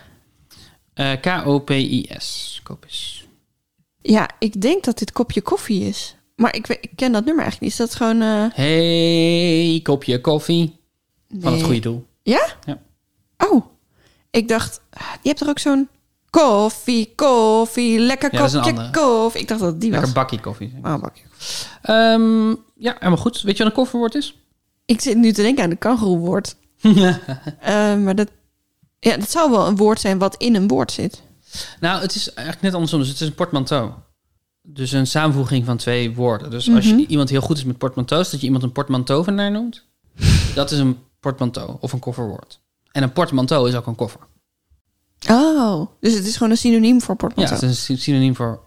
[SPEAKER 2] Eh, K-O-P-I-S. Kopis.
[SPEAKER 1] Ja, ik denk dat dit kopje koffie is. Maar ik, weet- ik ken dat nummer eigenlijk niet. Is dat gewoon... eh,
[SPEAKER 2] Hey, kopje koffie. Van het
[SPEAKER 1] nee.
[SPEAKER 2] goede doel.
[SPEAKER 1] Ja?
[SPEAKER 2] Ja.
[SPEAKER 1] Oh. Ik dacht... ah, Je hebt er ook zo'n... Koffie, koffie, lekker
[SPEAKER 2] Ja, dat is een
[SPEAKER 1] kopje
[SPEAKER 2] andere.
[SPEAKER 1] koffie. Ik dacht dat het die
[SPEAKER 2] Lekker
[SPEAKER 1] was.
[SPEAKER 2] bakkie koffie.
[SPEAKER 1] Oh, bakje.
[SPEAKER 2] Ehm, ja, helemaal goed. Weet je wat een kofferwoord is?
[SPEAKER 1] Ik zit nu te denken aan de kangeroewoord. Eh, maar dat, ja, dat zou wel een woord zijn wat in een woord zit.
[SPEAKER 2] Nou, het is eigenlijk net andersom. Dus het is een portmanteau. dus een samenvoeging van twee woorden. Dus als je,
[SPEAKER 1] Mhm.
[SPEAKER 2] iemand heel goed is met portmanteaus, dat je iemand een portmanteauvenaar noemt. dat is een portmanteau of een kofferwoord. En een portmanteau is ook een koffer.
[SPEAKER 1] Oh, dus het is gewoon een synoniem voor
[SPEAKER 2] Ja,
[SPEAKER 1] portmanteau.
[SPEAKER 2] het is een sy- synoniem voor...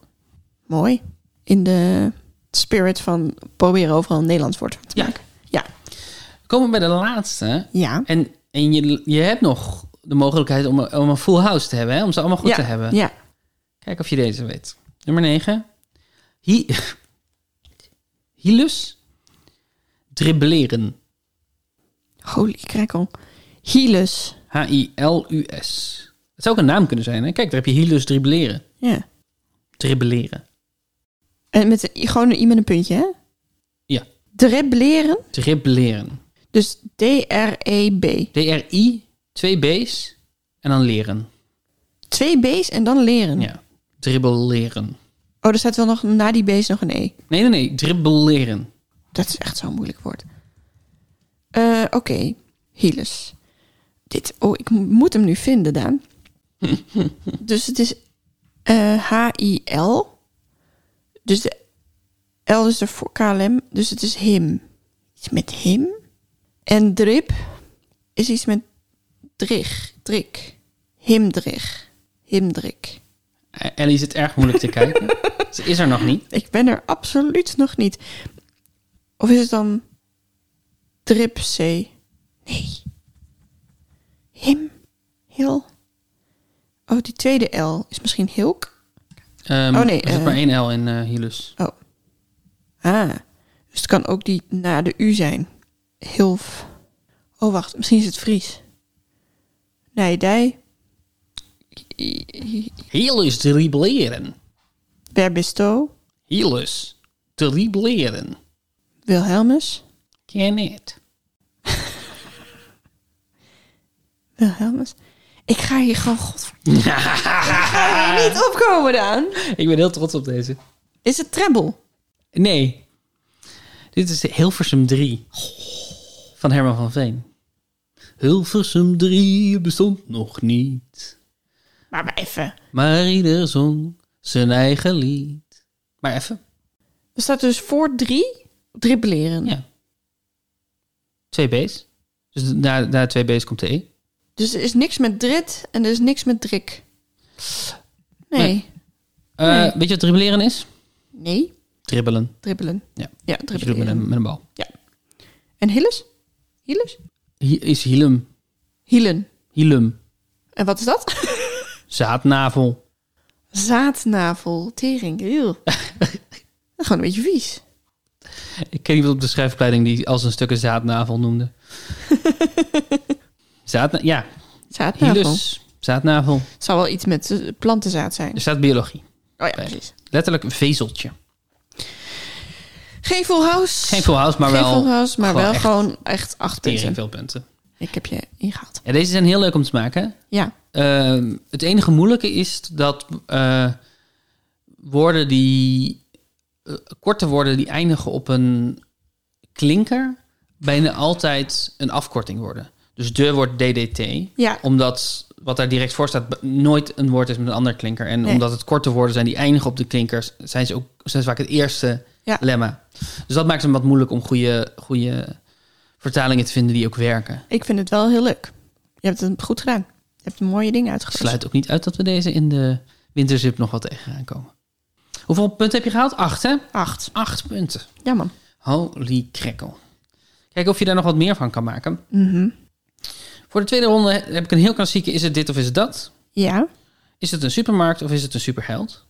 [SPEAKER 1] Mooi. In de spirit van proberen overal een Nederlands woord van te
[SPEAKER 2] Ja.
[SPEAKER 1] maken. Ja.
[SPEAKER 2] We komen bij de laatste.
[SPEAKER 1] Ja.
[SPEAKER 2] En, en je, je hebt nog de mogelijkheid om, een- om een full house te hebben. Hè? Om ze allemaal goed
[SPEAKER 1] ja.
[SPEAKER 2] te hebben.
[SPEAKER 1] Ja.
[SPEAKER 2] Kijk of je deze weet. Nummer 9. Hi Hilus. Dribbleren.
[SPEAKER 1] Holy crackle. Hilus.
[SPEAKER 2] H-I-L-U-S. Het zou ook een naam kunnen zijn. Hè? Kijk, daar heb je Hilus dribbleren.
[SPEAKER 1] Ja.
[SPEAKER 2] Dribbleren.
[SPEAKER 1] En met gewoon een i met een puntje, hè?
[SPEAKER 2] Ja.
[SPEAKER 1] Dribbleren.
[SPEAKER 2] Dribbleren.
[SPEAKER 1] Dus E D-R-E-B.
[SPEAKER 2] D-R-I, twee B's en dan leren.
[SPEAKER 1] Twee B's en dan leren.
[SPEAKER 2] Ja. Dribbelleren.
[SPEAKER 1] Oh, er staat wel nog na die B's nog een E.
[SPEAKER 2] Nee, nee, nee. Dribbelleren.
[SPEAKER 1] Dat is echt zo'n moeilijk woord. Eh, Oké, Hilus. Dit, oh, ik mo- moet hem nu vinden, Daan. dus het is eh, H-I-L. Dus de L is er voor KLM. Dus het is him. Iets met him. En drip is iets met drig. Drik. Himdrig. Himdrik.
[SPEAKER 2] Eh, Ellie zit erg moeilijk te kijken. Ze is er nog niet.
[SPEAKER 1] Ik ben er absoluut nog niet. Of is het dan drip C? Nee. Him. Hil. Oh, die tweede L is misschien Hilk.
[SPEAKER 2] Ehm,
[SPEAKER 1] Oh, nee,
[SPEAKER 2] Er zit
[SPEAKER 1] eh.
[SPEAKER 2] maar één L in eh, Hilus.
[SPEAKER 1] Oh. Ah. Dus het kan ook die na de U zijn. Hilf. Oh, wacht. Misschien is het Fries. Nijdij.
[SPEAKER 2] Hilus dribbelleren.
[SPEAKER 1] Berbisto.
[SPEAKER 2] Hilus dribbelleren.
[SPEAKER 1] Wilhelmus.
[SPEAKER 2] Ken het.
[SPEAKER 1] Wilhelmus. Ik ga hier gewoon... godverdomme, Ik ga hier niet opkomen, Daan.
[SPEAKER 2] Ik ben heel trots op deze.
[SPEAKER 1] Is het treble?
[SPEAKER 2] Nee. Dit is Hilversum 3. Van Herman van Veen. Hilversum 3 bestond nog niet.
[SPEAKER 1] Maar maar even.
[SPEAKER 2] Maar ieder zong zijn eigen lied. Maar even.
[SPEAKER 1] Er staat dus voor drie dribbeleren.
[SPEAKER 2] Ja. Twee B's. Dus na, na twee B's komt de E.
[SPEAKER 1] Dus er is niks met drit en er is niks met drik. Nee.
[SPEAKER 2] Nee.
[SPEAKER 1] Nee.
[SPEAKER 2] Eh, Weet je wat dribbeleren is? Dribbelen.
[SPEAKER 1] Dribbelen.
[SPEAKER 2] Ja.
[SPEAKER 1] Ja,
[SPEAKER 2] Dus je doet
[SPEAKER 1] dribbeleren.
[SPEAKER 2] met een, met een bal.
[SPEAKER 1] Ja. En hilles? Hilles?
[SPEAKER 2] Hi- is hilum.
[SPEAKER 1] Hielen.
[SPEAKER 2] Hilum.
[SPEAKER 1] En wat is dat?
[SPEAKER 2] Zaadnavel.
[SPEAKER 1] Zaadnavel. Tering. Eeuw. Gewoon een beetje vies.
[SPEAKER 2] Ik ken iemand op de schrijfopleiding die als een stuk een zaadnavel noemde. Zaadna ja,
[SPEAKER 1] Zaadnavel.
[SPEAKER 2] hilus. Zaadnavel.
[SPEAKER 1] Het zou wel iets met eh, plantenzaad zijn.
[SPEAKER 2] Er staat biologie.
[SPEAKER 1] Oh ja, precies.
[SPEAKER 2] Letterlijk een vezeltje.
[SPEAKER 1] Geen full house.
[SPEAKER 2] Geen full house, maar
[SPEAKER 1] Geen
[SPEAKER 2] wel
[SPEAKER 1] full house, maar
[SPEAKER 2] gewoon
[SPEAKER 1] wel
[SPEAKER 2] echt
[SPEAKER 1] gewoon echt acht
[SPEAKER 2] tering
[SPEAKER 1] punten.
[SPEAKER 2] veel punten.
[SPEAKER 1] Ik heb je ingehaald.
[SPEAKER 2] Ja, deze zijn heel leuk om te maken.
[SPEAKER 1] Ja.
[SPEAKER 2] Ehm, het enige moeilijke is dat eh, woorden die... eh, korte woorden die eindigen op een klinker... bijna altijd een afkorting worden. Dus de wordt DDT.
[SPEAKER 1] Ja.
[SPEAKER 2] Omdat wat daar direct voor staat b- nooit een woord is met een ander klinker. En
[SPEAKER 1] Nee.
[SPEAKER 2] omdat het korte woorden zijn die eindigen op de klinkers, zijn ze ook zijn ze vaak het eerste
[SPEAKER 1] Ja.
[SPEAKER 2] lemma. Dus dat maakt het wat moeilijk om goede, goede vertalingen te vinden die ook werken.
[SPEAKER 1] Ik vind het wel heel leuk. Je hebt het goed gedaan. Je hebt mooie dingen
[SPEAKER 2] Het
[SPEAKER 1] uitgevoerd.
[SPEAKER 2] sluit ook niet uit dat we deze in de winterzip nog wel tegenaan komen. Hoeveel punten heb je gehaald? Acht, hè?
[SPEAKER 1] Acht.
[SPEAKER 2] Acht punten.
[SPEAKER 1] Ja, man.
[SPEAKER 2] Holy crackle. Kijk of je daar nog wat meer van kan maken.
[SPEAKER 1] Mhm.
[SPEAKER 2] Voor de tweede ronde heb ik een heel klassieke: is het dit of is het dat?
[SPEAKER 1] Ja.
[SPEAKER 2] Is het een supermarkt of is het een superheld?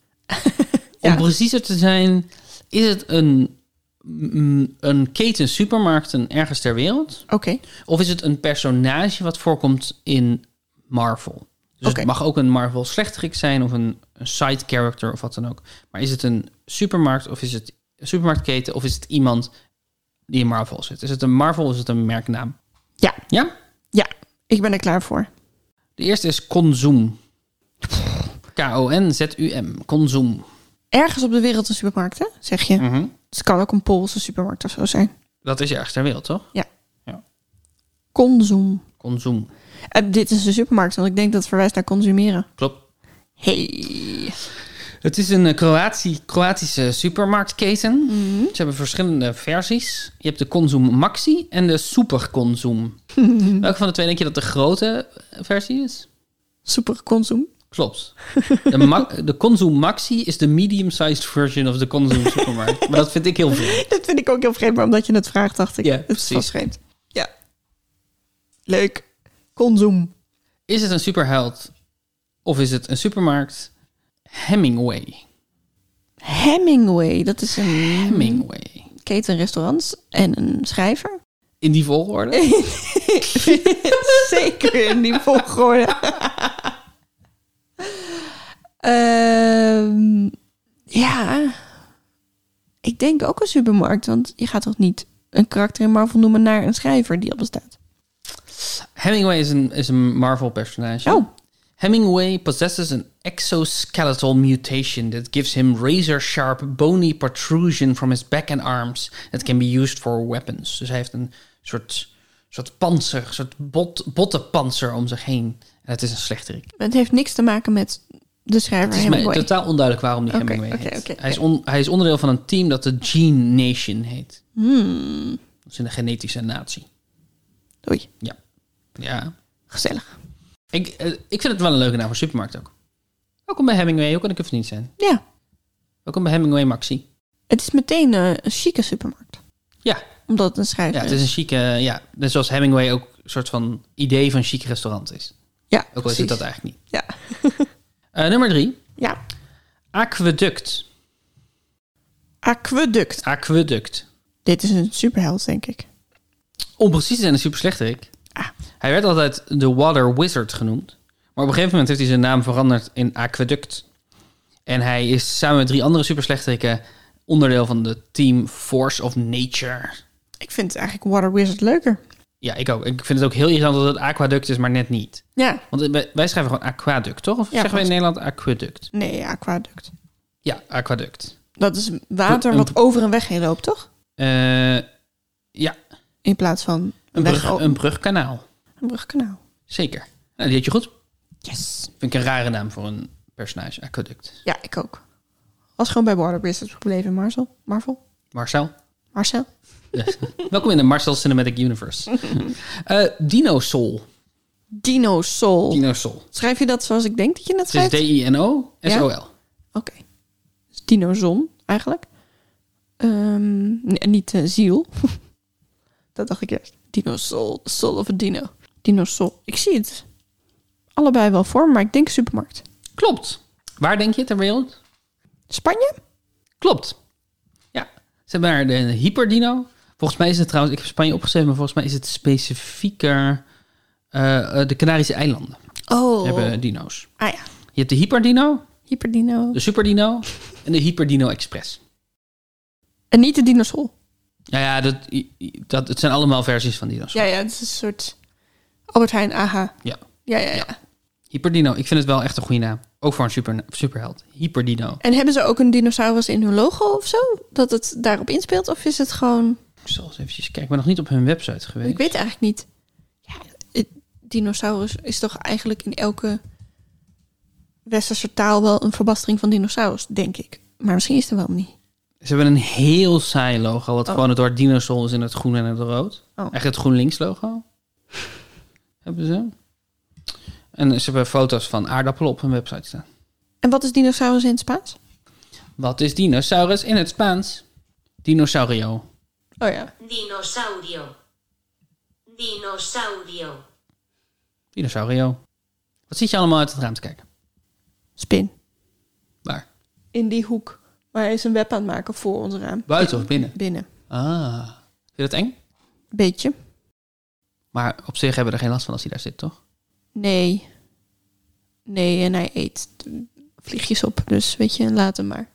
[SPEAKER 2] Om
[SPEAKER 1] Ja.
[SPEAKER 2] preciezer te zijn, is het een, mm, een keten supermarkten ergens ter wereld?
[SPEAKER 1] Oké.
[SPEAKER 2] Of is het een personage wat voorkomt in Marvel? Dus
[SPEAKER 1] Oké.
[SPEAKER 2] het mag ook een Marvel slechterik zijn of een, een side character of wat dan ook. Maar is het een supermarkt of is het een supermarktketen of is het iemand die in Marvel zit? Is het een Marvel of is het een merknaam?
[SPEAKER 1] Ja.
[SPEAKER 2] Ja?
[SPEAKER 1] Ja. Ik ben er klaar voor.
[SPEAKER 2] De eerste is Conzoom. K-O-N-Z-U-M. Conzoom.
[SPEAKER 1] Ergens op de wereld een supermarkt, hè? Zeg je.
[SPEAKER 2] Mhm.
[SPEAKER 1] Het kan ook een Poolse supermarkt of zo zijn.
[SPEAKER 2] Dat is ergens ter wereld, toch?
[SPEAKER 1] Consum.
[SPEAKER 2] Consuum.
[SPEAKER 1] Eh, dit is een supermarkt, want ik denk dat het verwijst naar consumeren.
[SPEAKER 2] Klopt.
[SPEAKER 1] Hey.
[SPEAKER 2] Het is een eh, Kroatie, Kroatische supermarktketen.
[SPEAKER 1] Mhm.
[SPEAKER 2] Ze hebben verschillende versies. Je hebt de Consum Maxi en de Super Consum. Welke van de twee denk je dat de grote eh, versie is?
[SPEAKER 1] Super consum.
[SPEAKER 2] Klopt. De, ma- de Consum Maxi is de medium-sized version of de Consum Supermarkt. Maar dat vind ik heel veel.
[SPEAKER 1] Dat vind ik ook heel vreemd, maar omdat je het vraagt, dacht ik.
[SPEAKER 2] Ja,
[SPEAKER 1] het is wel
[SPEAKER 2] precies.
[SPEAKER 1] vreemd. Ja. Leuk. Consum.
[SPEAKER 2] Is het een superheld of is het een supermarkt? Hemingway.
[SPEAKER 1] Hemingway, dat is een
[SPEAKER 2] Hemingway.
[SPEAKER 1] keten restaurants en een schrijver.
[SPEAKER 2] In die volgorde?
[SPEAKER 1] Zeker in die volgorde. Ehm, ja, ik denk ook een supermarkt, want je gaat toch niet een karakter in Marvel noemen naar een schrijver die al bestaat.
[SPEAKER 2] Hemingway is een, is een Marvel-personage.
[SPEAKER 1] Oh,
[SPEAKER 2] Hemingway possesses an exoskeletal mutation that gives him razor sharp bony protrusion from his back and arms that can be used for weapons. Dus hij heeft een soort, soort panzer, een soort bot, bottenpanzer om zich heen. En het is een slechterik.
[SPEAKER 1] het heeft niks te maken met de schrijver
[SPEAKER 2] Het is mij
[SPEAKER 1] Hemingway.
[SPEAKER 2] totaal onduidelijk waarom die
[SPEAKER 1] Oké,
[SPEAKER 2] Hemingway
[SPEAKER 1] oké,
[SPEAKER 2] heet.
[SPEAKER 1] oké,
[SPEAKER 2] hij, is on- hij is onderdeel van een team dat de Gene Nation heet.
[SPEAKER 1] Hmm,
[SPEAKER 2] Dat is een genetische natie.
[SPEAKER 1] Oei,
[SPEAKER 2] Ja. Ja.
[SPEAKER 1] gezellig.
[SPEAKER 2] Ik, eh, ik vind het wel een leuke naam voor supermarkt ook. Welkom bij Hemingway. Hoe kan ik er verdiend zijn?
[SPEAKER 1] Ja,
[SPEAKER 2] Welkom bij Hemingway Maxi.
[SPEAKER 1] het is meteen eh, een chique supermarkt,
[SPEAKER 2] Ja,
[SPEAKER 1] omdat het een schrijver
[SPEAKER 2] ja
[SPEAKER 1] is.
[SPEAKER 2] het is een chique... eh, Ja, net zoals Hemingway ook een soort van idee van chic restaurant is.
[SPEAKER 1] Ja,
[SPEAKER 2] Ook al is
[SPEAKER 1] precies.
[SPEAKER 2] het dat eigenlijk niet.
[SPEAKER 1] Ja.
[SPEAKER 2] Eh, nummer drie.
[SPEAKER 1] ja,
[SPEAKER 2] Aqueduct.
[SPEAKER 1] aqueduct.
[SPEAKER 2] Aqueduct.
[SPEAKER 1] Dit is een superheld, denk ik.
[SPEAKER 2] Om precies te zijn een super slechterik.
[SPEAKER 1] Ah.
[SPEAKER 2] Hij werd altijd de Water Wizard genoemd. Maar op een gegeven moment heeft hij zijn naam veranderd in Aqueduct. En hij is samen met drie andere super slechterikken onderdeel van de team Force of Nature.
[SPEAKER 1] Ik vind het eigenlijk Water Wizard leuker.
[SPEAKER 2] Ja, ik ook. Ik vind het ook heel irritant dat het aquaduct is, maar net niet.
[SPEAKER 1] Ja.
[SPEAKER 2] Want wij wij schrijven gewoon aquaduct, toch? Of
[SPEAKER 1] Ja,
[SPEAKER 2] zeggen we in
[SPEAKER 1] volgens-
[SPEAKER 2] Nederland aquaduct?
[SPEAKER 1] Nee, aquaduct.
[SPEAKER 2] Ja, aquaduct.
[SPEAKER 1] Dat is water wat over een weg heen loopt, toch?
[SPEAKER 2] Eh,
[SPEAKER 1] In plaats van
[SPEAKER 2] een,
[SPEAKER 1] weg oh.
[SPEAKER 2] brug,
[SPEAKER 1] o-
[SPEAKER 2] een brugkanaal.
[SPEAKER 1] een brugkanaal.
[SPEAKER 2] Zeker. Nou, die had je goed.
[SPEAKER 1] Yes.
[SPEAKER 2] Vind ik een rare naam voor een personage, aquaduct.
[SPEAKER 1] Ja, ik ook. Was gewoon bij Water Wizard gebleven, Marcel. Marvel.
[SPEAKER 2] Marcel?
[SPEAKER 1] Marcel.
[SPEAKER 2] Yes. Welkom in de Marcel Cinematic Universe. Eh Dino Soul.
[SPEAKER 1] Dino Soul.
[SPEAKER 2] Dino Soul.
[SPEAKER 1] Schrijf je dat zoals ik denk dat je het
[SPEAKER 2] Het is
[SPEAKER 1] schrijft?
[SPEAKER 2] D-I-N-O-S-O-L.
[SPEAKER 1] Oké. Dus Dino Zon, eigenlijk. Ehm, nee, niet eh, ziel. dat dacht ik eerst. Dino Soul. Soul of a Dino. Dino Soul. Ik zie het. Allebei wel voor, me, maar ik denk supermarkt.
[SPEAKER 2] Klopt. Waar denk je ter wereld?
[SPEAKER 1] Spanje?
[SPEAKER 2] Klopt. Ja, ze hebben daar de hyperdino. Volgens mij is het trouwens, ik heb Spanje opgeschreven, maar volgens mij is het specifieker eh, eh, de Canarische eilanden
[SPEAKER 1] Oh.
[SPEAKER 2] hebben dino's.
[SPEAKER 1] Ah ja.
[SPEAKER 2] Je hebt de hyperdino,
[SPEAKER 1] Hyperdino.
[SPEAKER 2] de superdino en de hyperdino express.
[SPEAKER 1] En niet de dinosaur.
[SPEAKER 2] Nou ja, dat, i- i- dat, het zijn allemaal versies van dino's.
[SPEAKER 1] Ja, ja, het is een soort Albert Heijn AH.
[SPEAKER 2] Ja.
[SPEAKER 1] Ja, ja, ja.
[SPEAKER 2] Hyperdino, ik vind het wel echt een goede naam. Ook voor een super, superheld. Hyperdino.
[SPEAKER 1] En hebben ze ook een dinosaurus in hun logo of zo? Dat het daarop inspeelt? Of is het gewoon...
[SPEAKER 2] Ik zal eens eventjes kijken. Ik ben nog niet op hun website geweest.
[SPEAKER 1] Ik weet eigenlijk niet. Ja, het dinosaurus is toch eigenlijk in elke westerse taal wel een verbastering van dinosaurus, denk ik. Maar misschien is het er wel niet.
[SPEAKER 2] Ze hebben een heel saai logo, wat
[SPEAKER 1] Oh.
[SPEAKER 2] gewoon het woord dinosaur is in het groen en het rood.
[SPEAKER 1] Oh.
[SPEAKER 2] Echt het GroenLinks logo. hebben ze. En ze hebben foto's van aardappelen op hun website staan.
[SPEAKER 1] En wat is dinosaurus in het Spaans?
[SPEAKER 2] Wat is dinosaurus in het Spaans? Dinosaurio.
[SPEAKER 1] Oh ja.
[SPEAKER 3] Dinosaurio. Dinosaurio.
[SPEAKER 2] Dinosaurio. Wat zit je allemaal uit het raam te kijken?
[SPEAKER 1] Spin.
[SPEAKER 2] Waar?
[SPEAKER 1] In die hoek. Maar hij is een web aan het maken voor ons raam.
[SPEAKER 2] Buiten of binnen?
[SPEAKER 1] Binnen.
[SPEAKER 2] Ah. Vind je dat eng?
[SPEAKER 1] Beetje.
[SPEAKER 2] Maar op zich hebben we er geen last van als hij daar zit, toch?
[SPEAKER 1] Nee. Nee, en hij eet vliegjes op. Dus weet je, laat hem maar.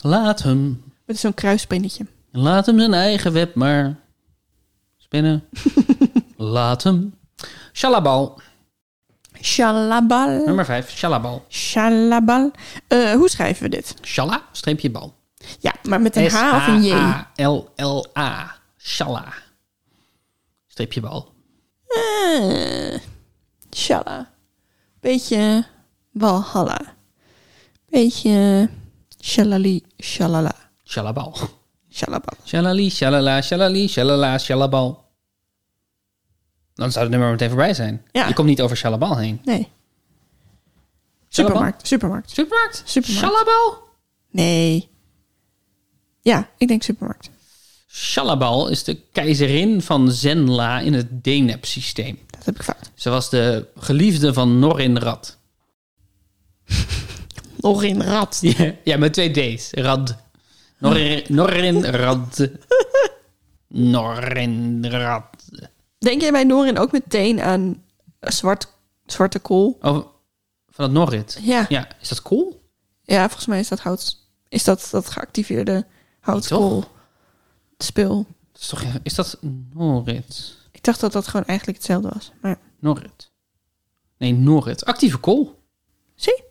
[SPEAKER 2] Laat hem.
[SPEAKER 1] Het is zo'n kruisspinnetje.
[SPEAKER 2] Laat hem zijn eigen web maar spinnen. Laat hem. Shalabal.
[SPEAKER 1] Shalabal.
[SPEAKER 2] Nummer 5. Shalabal.
[SPEAKER 1] Shalabal. Eh, hoe schrijven we dit?
[SPEAKER 2] Shala, streepje bal.
[SPEAKER 1] Ja, maar met een H of een J?
[SPEAKER 2] S-H-A-L-L-A. Shala. Streepje bal.
[SPEAKER 1] Ah, Eh, Shalla. Beetje Walhalla. beetje shalali, shalala,
[SPEAKER 2] Shalabal.
[SPEAKER 1] shalabal.
[SPEAKER 2] Shalali, shalala, shalali, shalala, shalabal. Dan zou het nummer meteen voorbij zijn.
[SPEAKER 1] Ja.
[SPEAKER 2] Je komt niet over shalabal heen.
[SPEAKER 1] Nee.
[SPEAKER 2] Shalabal?
[SPEAKER 1] Supermarkt, supermarkt.
[SPEAKER 2] Supermarkt?
[SPEAKER 1] Supermarkt.
[SPEAKER 2] Shalabal?
[SPEAKER 1] Nee. Ja, ik denk supermarkt.
[SPEAKER 2] Shalabal is de keizerin van Zenla in het Deneb-systeem.
[SPEAKER 1] Dat heb ik fout.
[SPEAKER 2] Ze was de geliefde van Norinrad.
[SPEAKER 1] Nog in rat.
[SPEAKER 2] Ja, ja, met twee D's. Rad. Norin- Norinrad. Norinrad.
[SPEAKER 1] Denk jij bij Norin ook meteen aan zwart, zwarte kool?
[SPEAKER 2] Oh, van het Norrit.
[SPEAKER 1] Ja. ja.
[SPEAKER 2] Ja, is dat cool?
[SPEAKER 1] volgens mij is dat hout. Is dat dat geactiveerde houtkool
[SPEAKER 2] Toch?
[SPEAKER 1] spul?
[SPEAKER 2] Dat is, toch, is dat Norrit?
[SPEAKER 1] Ik dacht dat dat gewoon eigenlijk hetzelfde was. Maar
[SPEAKER 2] Norrit. Nee, Norrit. Actieve kool.
[SPEAKER 1] zie.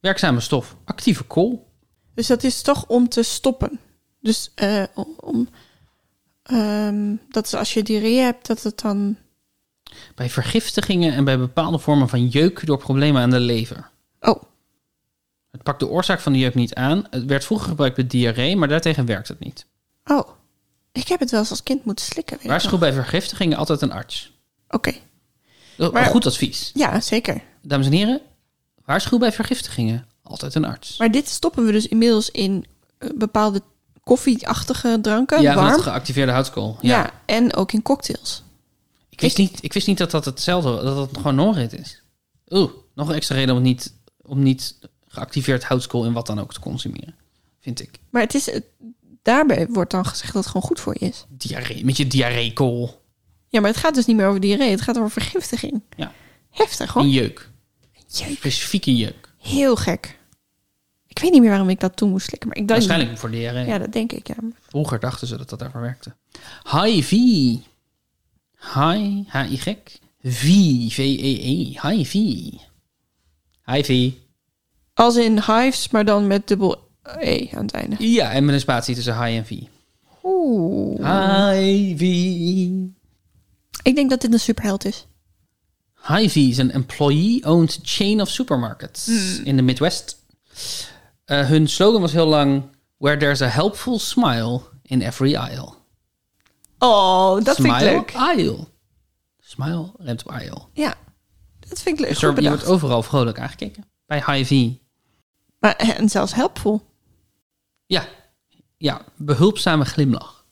[SPEAKER 2] Werkzame stof. Actieve kool.
[SPEAKER 1] Dus dat is toch om te stoppen. Dus eh, o- om. ehm, dat is als je diarree hebt, dat het dan.
[SPEAKER 2] Bij vergiftigingen en bij bepaalde vormen van jeuk door problemen aan de lever.
[SPEAKER 1] Oh,
[SPEAKER 2] Het pakt de oorzaak van de jeuk niet aan. Het werd vroeger gebruikt bij diarree, maar daartegen werkt het niet.
[SPEAKER 1] oh. Ik heb het wel eens als kind moeten slikken. weet ik
[SPEAKER 2] Waarschuw
[SPEAKER 1] nog.
[SPEAKER 2] bij vergiftigingen altijd een arts.
[SPEAKER 1] Oké.
[SPEAKER 2] Oh,
[SPEAKER 1] Maar-
[SPEAKER 2] Goed advies.
[SPEAKER 1] Ja, zeker.
[SPEAKER 2] Dames en heren, waarschuw bij vergiftigingen altijd een arts.
[SPEAKER 1] Maar dit stoppen we dus inmiddels in eh, bepaalde koffieachtige dranken.
[SPEAKER 2] ja, van
[SPEAKER 1] warm.
[SPEAKER 2] het geactiveerde houtskool. Ja.
[SPEAKER 1] ja. en ook in cocktails.
[SPEAKER 2] Ik, wist niet, ik wist niet dat dat hetzelfde was, dat dat gewoon Norrit is. Oeh, nog een extra reden om niet, om niet geactiveerd houtskool en wat dan ook te consumeren. Vind ik.
[SPEAKER 1] Maar het is, het- daarbij wordt dan gezegd dat het gewoon goed voor je is.
[SPEAKER 2] Diarree, met je diarreekool
[SPEAKER 1] Ja, maar het gaat dus niet meer over diarree. Het gaat over vergiftiging.
[SPEAKER 2] Ja.
[SPEAKER 1] Heftig hoor.
[SPEAKER 2] en jeuk.
[SPEAKER 1] Jeetje.
[SPEAKER 2] Specifieke jeuk.
[SPEAKER 1] Heel gek. Ik weet niet meer waarom ik dat toen moest slikken, maar ik dacht...
[SPEAKER 2] Waarschijnlijk voor diarree.
[SPEAKER 1] Ja, dat denk ik, ja.
[SPEAKER 2] Vroeger dachten ze dat dat daarvoor werkte. HIV. Hi, H-I-G. E V, E V-E-E. HIV. HIV.
[SPEAKER 1] Als in hives, maar dan met dubbel E aan het einde.
[SPEAKER 2] Ja, en met een spatie tussen hi en V.
[SPEAKER 1] Oeh.
[SPEAKER 2] HIV.
[SPEAKER 1] Ik denk dat dit een superheld is.
[SPEAKER 2] Hy-Vee is een employee-owned chain of supermarkets in de Midwest. Eh, hun slogan was heel lang... Where there's a helpful smile in every aisle.
[SPEAKER 1] Oh, dat
[SPEAKER 2] smile
[SPEAKER 1] vind ik leuk.
[SPEAKER 2] aisle. Smile remt op aisle.
[SPEAKER 1] Ja, dat vind ik leuk.
[SPEAKER 2] Dus er-
[SPEAKER 1] Goed
[SPEAKER 2] je wordt
[SPEAKER 1] bedacht.
[SPEAKER 2] overal vrolijk aangekeken. Bij Hy-Vee.
[SPEAKER 1] Maar, eh, en zelfs helpful.
[SPEAKER 2] Ja. Ja, behulpzame glimlach.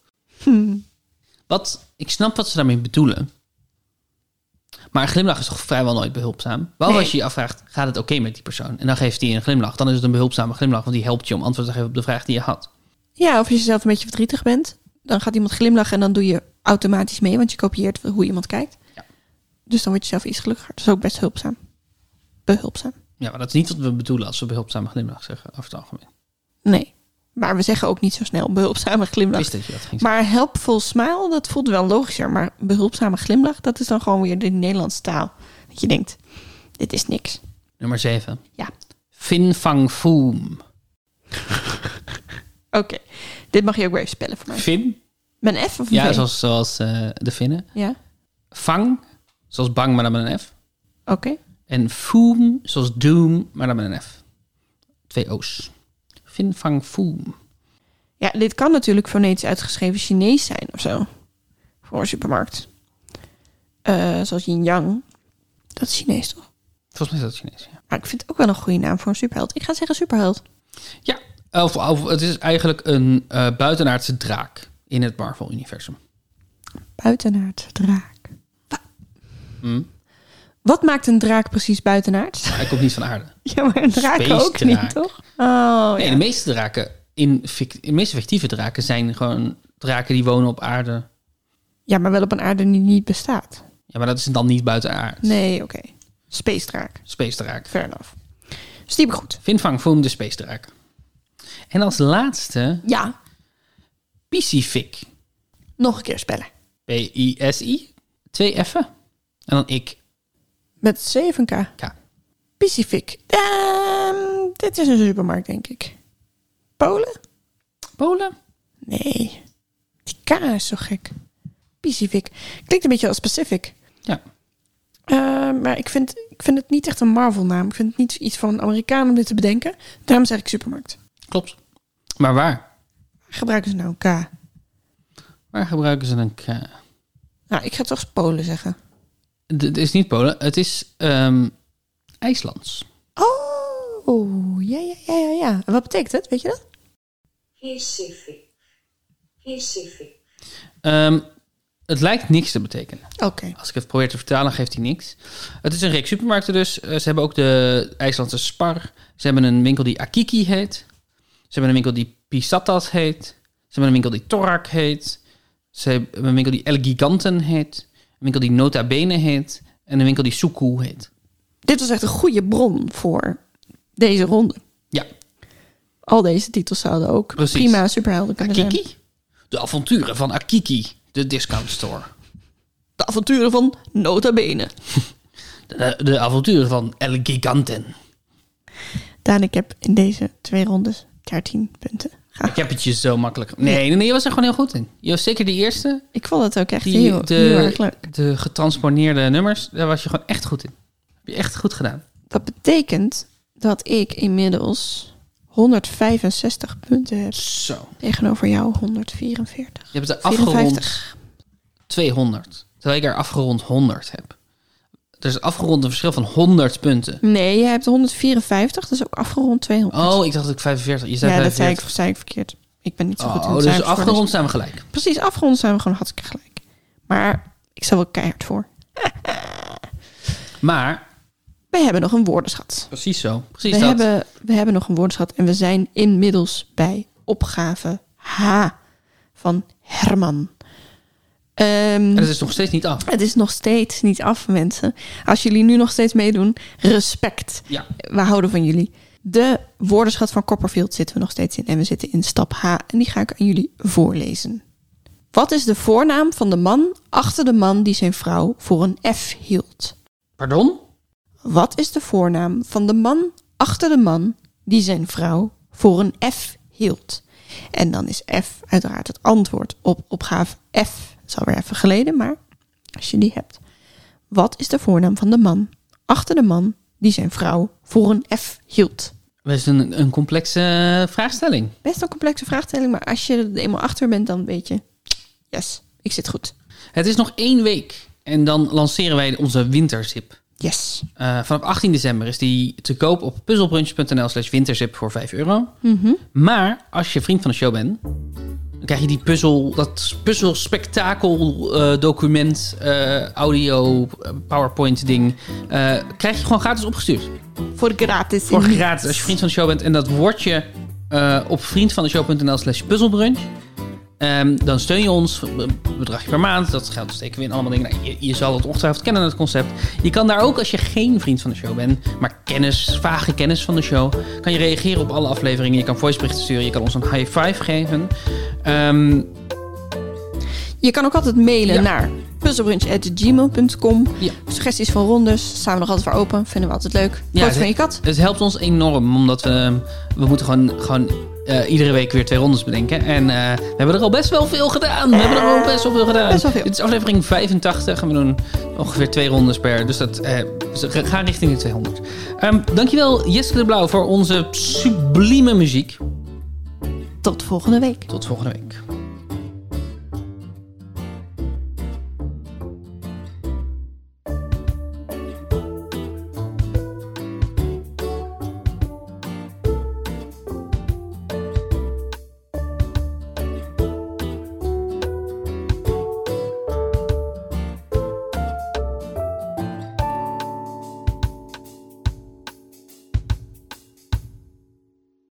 [SPEAKER 1] Hm.
[SPEAKER 2] Wat, ik snap wat ze daarmee bedoelen. Maar een glimlach is toch vrijwel nooit behulpzaam? Wel
[SPEAKER 1] Nee.
[SPEAKER 2] als je je afvraagt, gaat het oké met die persoon? En dan geeft hij een glimlach. Dan is het een behulpzame glimlach, want die helpt je om antwoord te geven op de vraag die je had.
[SPEAKER 1] Ja, of je zelf een beetje verdrietig bent. Dan gaat iemand glimlachen en dan doe je automatisch mee, want je kopieert hoe iemand kijkt.
[SPEAKER 2] Ja.
[SPEAKER 1] Dus dan word je zelf iets gelukkiger. Dat is ook best hulpzaam. Behulpzaam.
[SPEAKER 2] Ja, maar dat is niet wat we bedoelen als we behulpzame glimlach zeggen, over het
[SPEAKER 1] Nou.
[SPEAKER 2] algemeen.
[SPEAKER 1] Nee. Maar we zeggen ook niet zo snel behulpzame
[SPEAKER 2] Ik
[SPEAKER 1] glimlach.
[SPEAKER 2] wist dat je dat ging zeggen.
[SPEAKER 1] Maar helpful smile, dat voelt wel logischer. Maar behulpzame glimlach, dat is dan gewoon weer de Nederlandse taal. Dat je denkt, dit is niks.
[SPEAKER 2] Nummer 7.
[SPEAKER 1] Ja,
[SPEAKER 2] Fin Fang Foom.
[SPEAKER 1] oké. Dit mag je ook weer even spellen voor mij.
[SPEAKER 2] Fin?
[SPEAKER 1] Met een F of een
[SPEAKER 2] Ja,
[SPEAKER 1] V?
[SPEAKER 2] zoals, zoals eh, de Finnen.
[SPEAKER 1] Ja,
[SPEAKER 2] Fang, zoals bang, maar dan met een F.
[SPEAKER 1] oké.
[SPEAKER 2] En Foom, zoals Doom, maar dan met een F. Twee O's. Fin Fang Foom.
[SPEAKER 1] Ja, dit kan natuurlijk fonetisch uitgeschreven Chinees zijn of zo. Voor een supermarkt. Eh, zoals yin yang. Dat is Chinees toch?
[SPEAKER 2] Volgens mij is dat Chinees, ja.
[SPEAKER 1] Maar ik vind het ook wel een goede naam voor een superheld. Ik ga zeggen superheld.
[SPEAKER 2] Ja, of, of het is eigenlijk een eh, buitenaardse draak in het Marvel-universum.
[SPEAKER 1] Buitenaard draak.
[SPEAKER 2] Hm?
[SPEAKER 1] Wat maakt een draak precies buitenaard?
[SPEAKER 2] Hij komt niet van aarde.
[SPEAKER 1] Ja, maar een draak
[SPEAKER 2] Space
[SPEAKER 1] ook
[SPEAKER 2] draak.
[SPEAKER 1] niet, toch? Oh,
[SPEAKER 2] Nee,
[SPEAKER 1] ja.
[SPEAKER 2] de meeste draken, in, fic- de meeste fictieve draken, zijn gewoon draken die wonen op aarde.
[SPEAKER 1] Ja, maar wel op een aarde die niet bestaat.
[SPEAKER 2] Ja, maar dat is dan niet buitenaard.
[SPEAKER 1] Nee, oké. Space draak.
[SPEAKER 2] Space draak.
[SPEAKER 1] Fair enough. Dus die heb ik goed.
[SPEAKER 2] Vinfang Foom, de space draak. En als laatste,
[SPEAKER 1] Ja,
[SPEAKER 2] Pisifik.
[SPEAKER 1] nog een keer spellen.
[SPEAKER 2] P-I-S-I. Twee F'en. En dan ik.
[SPEAKER 1] Met 7k.
[SPEAKER 2] K.
[SPEAKER 1] Pacific. Ehm, dit is een supermarkt, denk ik. Polen?
[SPEAKER 2] Polen.
[SPEAKER 1] Nee. Die K is zo gek. Pacific. Klinkt een beetje als Pacific.
[SPEAKER 2] Ja.
[SPEAKER 1] Eh, maar ik vind, ik vind het niet echt een Marvel-naam. Ik vind het niet iets van een Amerikaan om dit te bedenken. Daarom zeg ik supermarkt.
[SPEAKER 2] Klopt. Maar waar?
[SPEAKER 1] Gebruiken ze nou een K?
[SPEAKER 2] Waar gebruiken ze een K? eh,
[SPEAKER 1] Nou, ik ga toch Polen zeggen.
[SPEAKER 2] D- Het is niet Polen, het is ehm, IJslands.
[SPEAKER 1] Oh, ja, ja, ja, ja, ja. En wat betekent het? Weet je dat?
[SPEAKER 3] Recife. Recife.
[SPEAKER 2] Ehm, het lijkt niks te betekenen.
[SPEAKER 1] Oké.
[SPEAKER 2] Als ik het probeer te vertalen, geeft hij niks. Het is een reeks supermarkten dus. Eh, Ze hebben ook de IJslandse Spar. Ze hebben een winkel die Akiki heet. Ze hebben een winkel die Pisatas heet. Ze hebben een winkel die Torak heet. Ze hebben een winkel die El Giganten heet. Een winkel die Nota Bene heet. En een winkel die Suku heet.
[SPEAKER 1] Dit was echt een goede bron voor deze ronde.
[SPEAKER 2] Ja,
[SPEAKER 1] Al deze titels zouden ook
[SPEAKER 2] Precies.
[SPEAKER 1] prima superhelden kunnen zijn.
[SPEAKER 2] Akiki? De avonturen van Akiki, de discount store.
[SPEAKER 1] De avonturen van Nota Bene.
[SPEAKER 2] De, de avonturen van El Giganten.
[SPEAKER 1] Daan, ik heb in deze twee rondes 13 punten. Ga.
[SPEAKER 2] Ik heb het je zo makkelijk. Nee, nee, nee, je was er gewoon heel goed in. Je was zeker de eerste
[SPEAKER 1] Ik vond het ook echt
[SPEAKER 2] Die-
[SPEAKER 1] heel,
[SPEAKER 2] de,
[SPEAKER 1] heel erg leuk.
[SPEAKER 2] De getransponeerde nummers, daar was je gewoon echt goed in. Heb je echt goed gedaan.
[SPEAKER 1] Dat betekent dat ik inmiddels 165 punten heb
[SPEAKER 2] Zo.
[SPEAKER 1] tegenover jou 144.
[SPEAKER 2] Je hebt er afgerond
[SPEAKER 1] 54.
[SPEAKER 2] 200. Terwijl ik er afgerond 100 heb. Er is afgerond een verschil van 100 punten.
[SPEAKER 1] Nee, je hebt 154, dus ook afgerond 200.
[SPEAKER 2] Oh, ik dacht dat ik 45. Je zei
[SPEAKER 1] ja, dat
[SPEAKER 2] 45.
[SPEAKER 1] zei ik, zei ik verkeerd. Ik ben niet zo goed in
[SPEAKER 2] Oh,
[SPEAKER 1] het
[SPEAKER 2] dus
[SPEAKER 1] cijfers voorlezen.
[SPEAKER 2] afgerond zijn we gelijk.
[SPEAKER 1] Precies, afgerond zijn we gewoon hartstikke gelijk. Maar ik stel wel keihard voor.
[SPEAKER 2] Maar,
[SPEAKER 1] We hebben nog een woordenschat.
[SPEAKER 2] precies zo. Precies
[SPEAKER 1] We
[SPEAKER 2] dat.
[SPEAKER 1] hebben, we hebben nog een woordenschat en we zijn inmiddels bij opgave H van Herman. Ehm,
[SPEAKER 2] En het is nog steeds niet af.
[SPEAKER 1] het is nog steeds niet af, mensen. Als jullie nu nog steeds meedoen, respect.
[SPEAKER 2] Ja.
[SPEAKER 1] We houden van jullie. De woordenschat van Copperfield zitten we nog steeds in. En we zitten in stap H. En die ga ik aan jullie voorlezen. Wat is de voornaam van de man achter de man die zijn vrouw voor een F hield?
[SPEAKER 2] Pardon?
[SPEAKER 1] Wat is de voornaam van de man achter de man die zijn vrouw voor een F hield? En dan is F uiteraard het antwoord op opgave F. Dat is alweer even geleden, maar als je die hebt. Wat is de voornaam van de man achter de man die zijn vrouw voor een F hield?
[SPEAKER 2] Dat is een, een complexe eh, vraagstelling.
[SPEAKER 1] Best een complexe vraagstelling, maar als je er eenmaal achter bent, dan weet je. Yes, ik zit goed.
[SPEAKER 2] Het is nog één week. En dan lanceren wij onze winterzip.
[SPEAKER 1] Yes.
[SPEAKER 2] Eh, vanaf 18 december is die te koop op puzzelbrunch.nl slash winterzip voor 5 euro.
[SPEAKER 1] Mhm.
[SPEAKER 2] Maar als je vriend van de show bent, dan krijg je die puzzel, dat puzzelspektakel eh document, eh, audio, eh, powerpoint ding, eh, krijg je gewoon gratis opgestuurd.
[SPEAKER 1] Voor gratis.
[SPEAKER 2] Voor gratis als je vriend van de show bent. En dat word je eh, op vriendvandeshow.nl slash puzzelbrunch. Ehm, dan steun je ons, een bedragje per maand, dat geld steken we in allemaal dingen. Nou, je, je zal het ongetwijfeld kennen, het concept. Je kan daar ook, als je geen vriend van de show bent, maar kennis, vage kennis van de show, kan je reageren op alle afleveringen. Je kan voiceberichten sturen, je kan ons een high five geven. Ehm,
[SPEAKER 1] Je kan ook altijd mailen
[SPEAKER 2] Ja.
[SPEAKER 1] naar puzzelbrunch.gmail.com.
[SPEAKER 2] Ja.
[SPEAKER 1] Suggesties van rondes staan we nog altijd voor open. Vinden we altijd leuk.
[SPEAKER 2] Ja,
[SPEAKER 1] Foto van
[SPEAKER 2] het-
[SPEAKER 1] je kat.
[SPEAKER 2] het helpt ons enorm, omdat we, ehm, we moeten gewoon, gewoon eh, iedere week weer twee rondes bedenken. En eh, we hebben er al best wel veel gedaan. We hebben er al best wel veel gedaan.
[SPEAKER 1] Best wel veel.
[SPEAKER 2] Dit is aflevering 85 en we doen ongeveer twee rondes per. Dus dat eh, dus we gaan richting de 200. Ehm, dankjewel Jeske de Blauw voor onze sublieme muziek.
[SPEAKER 1] Tot volgende week.
[SPEAKER 2] Tot volgende week.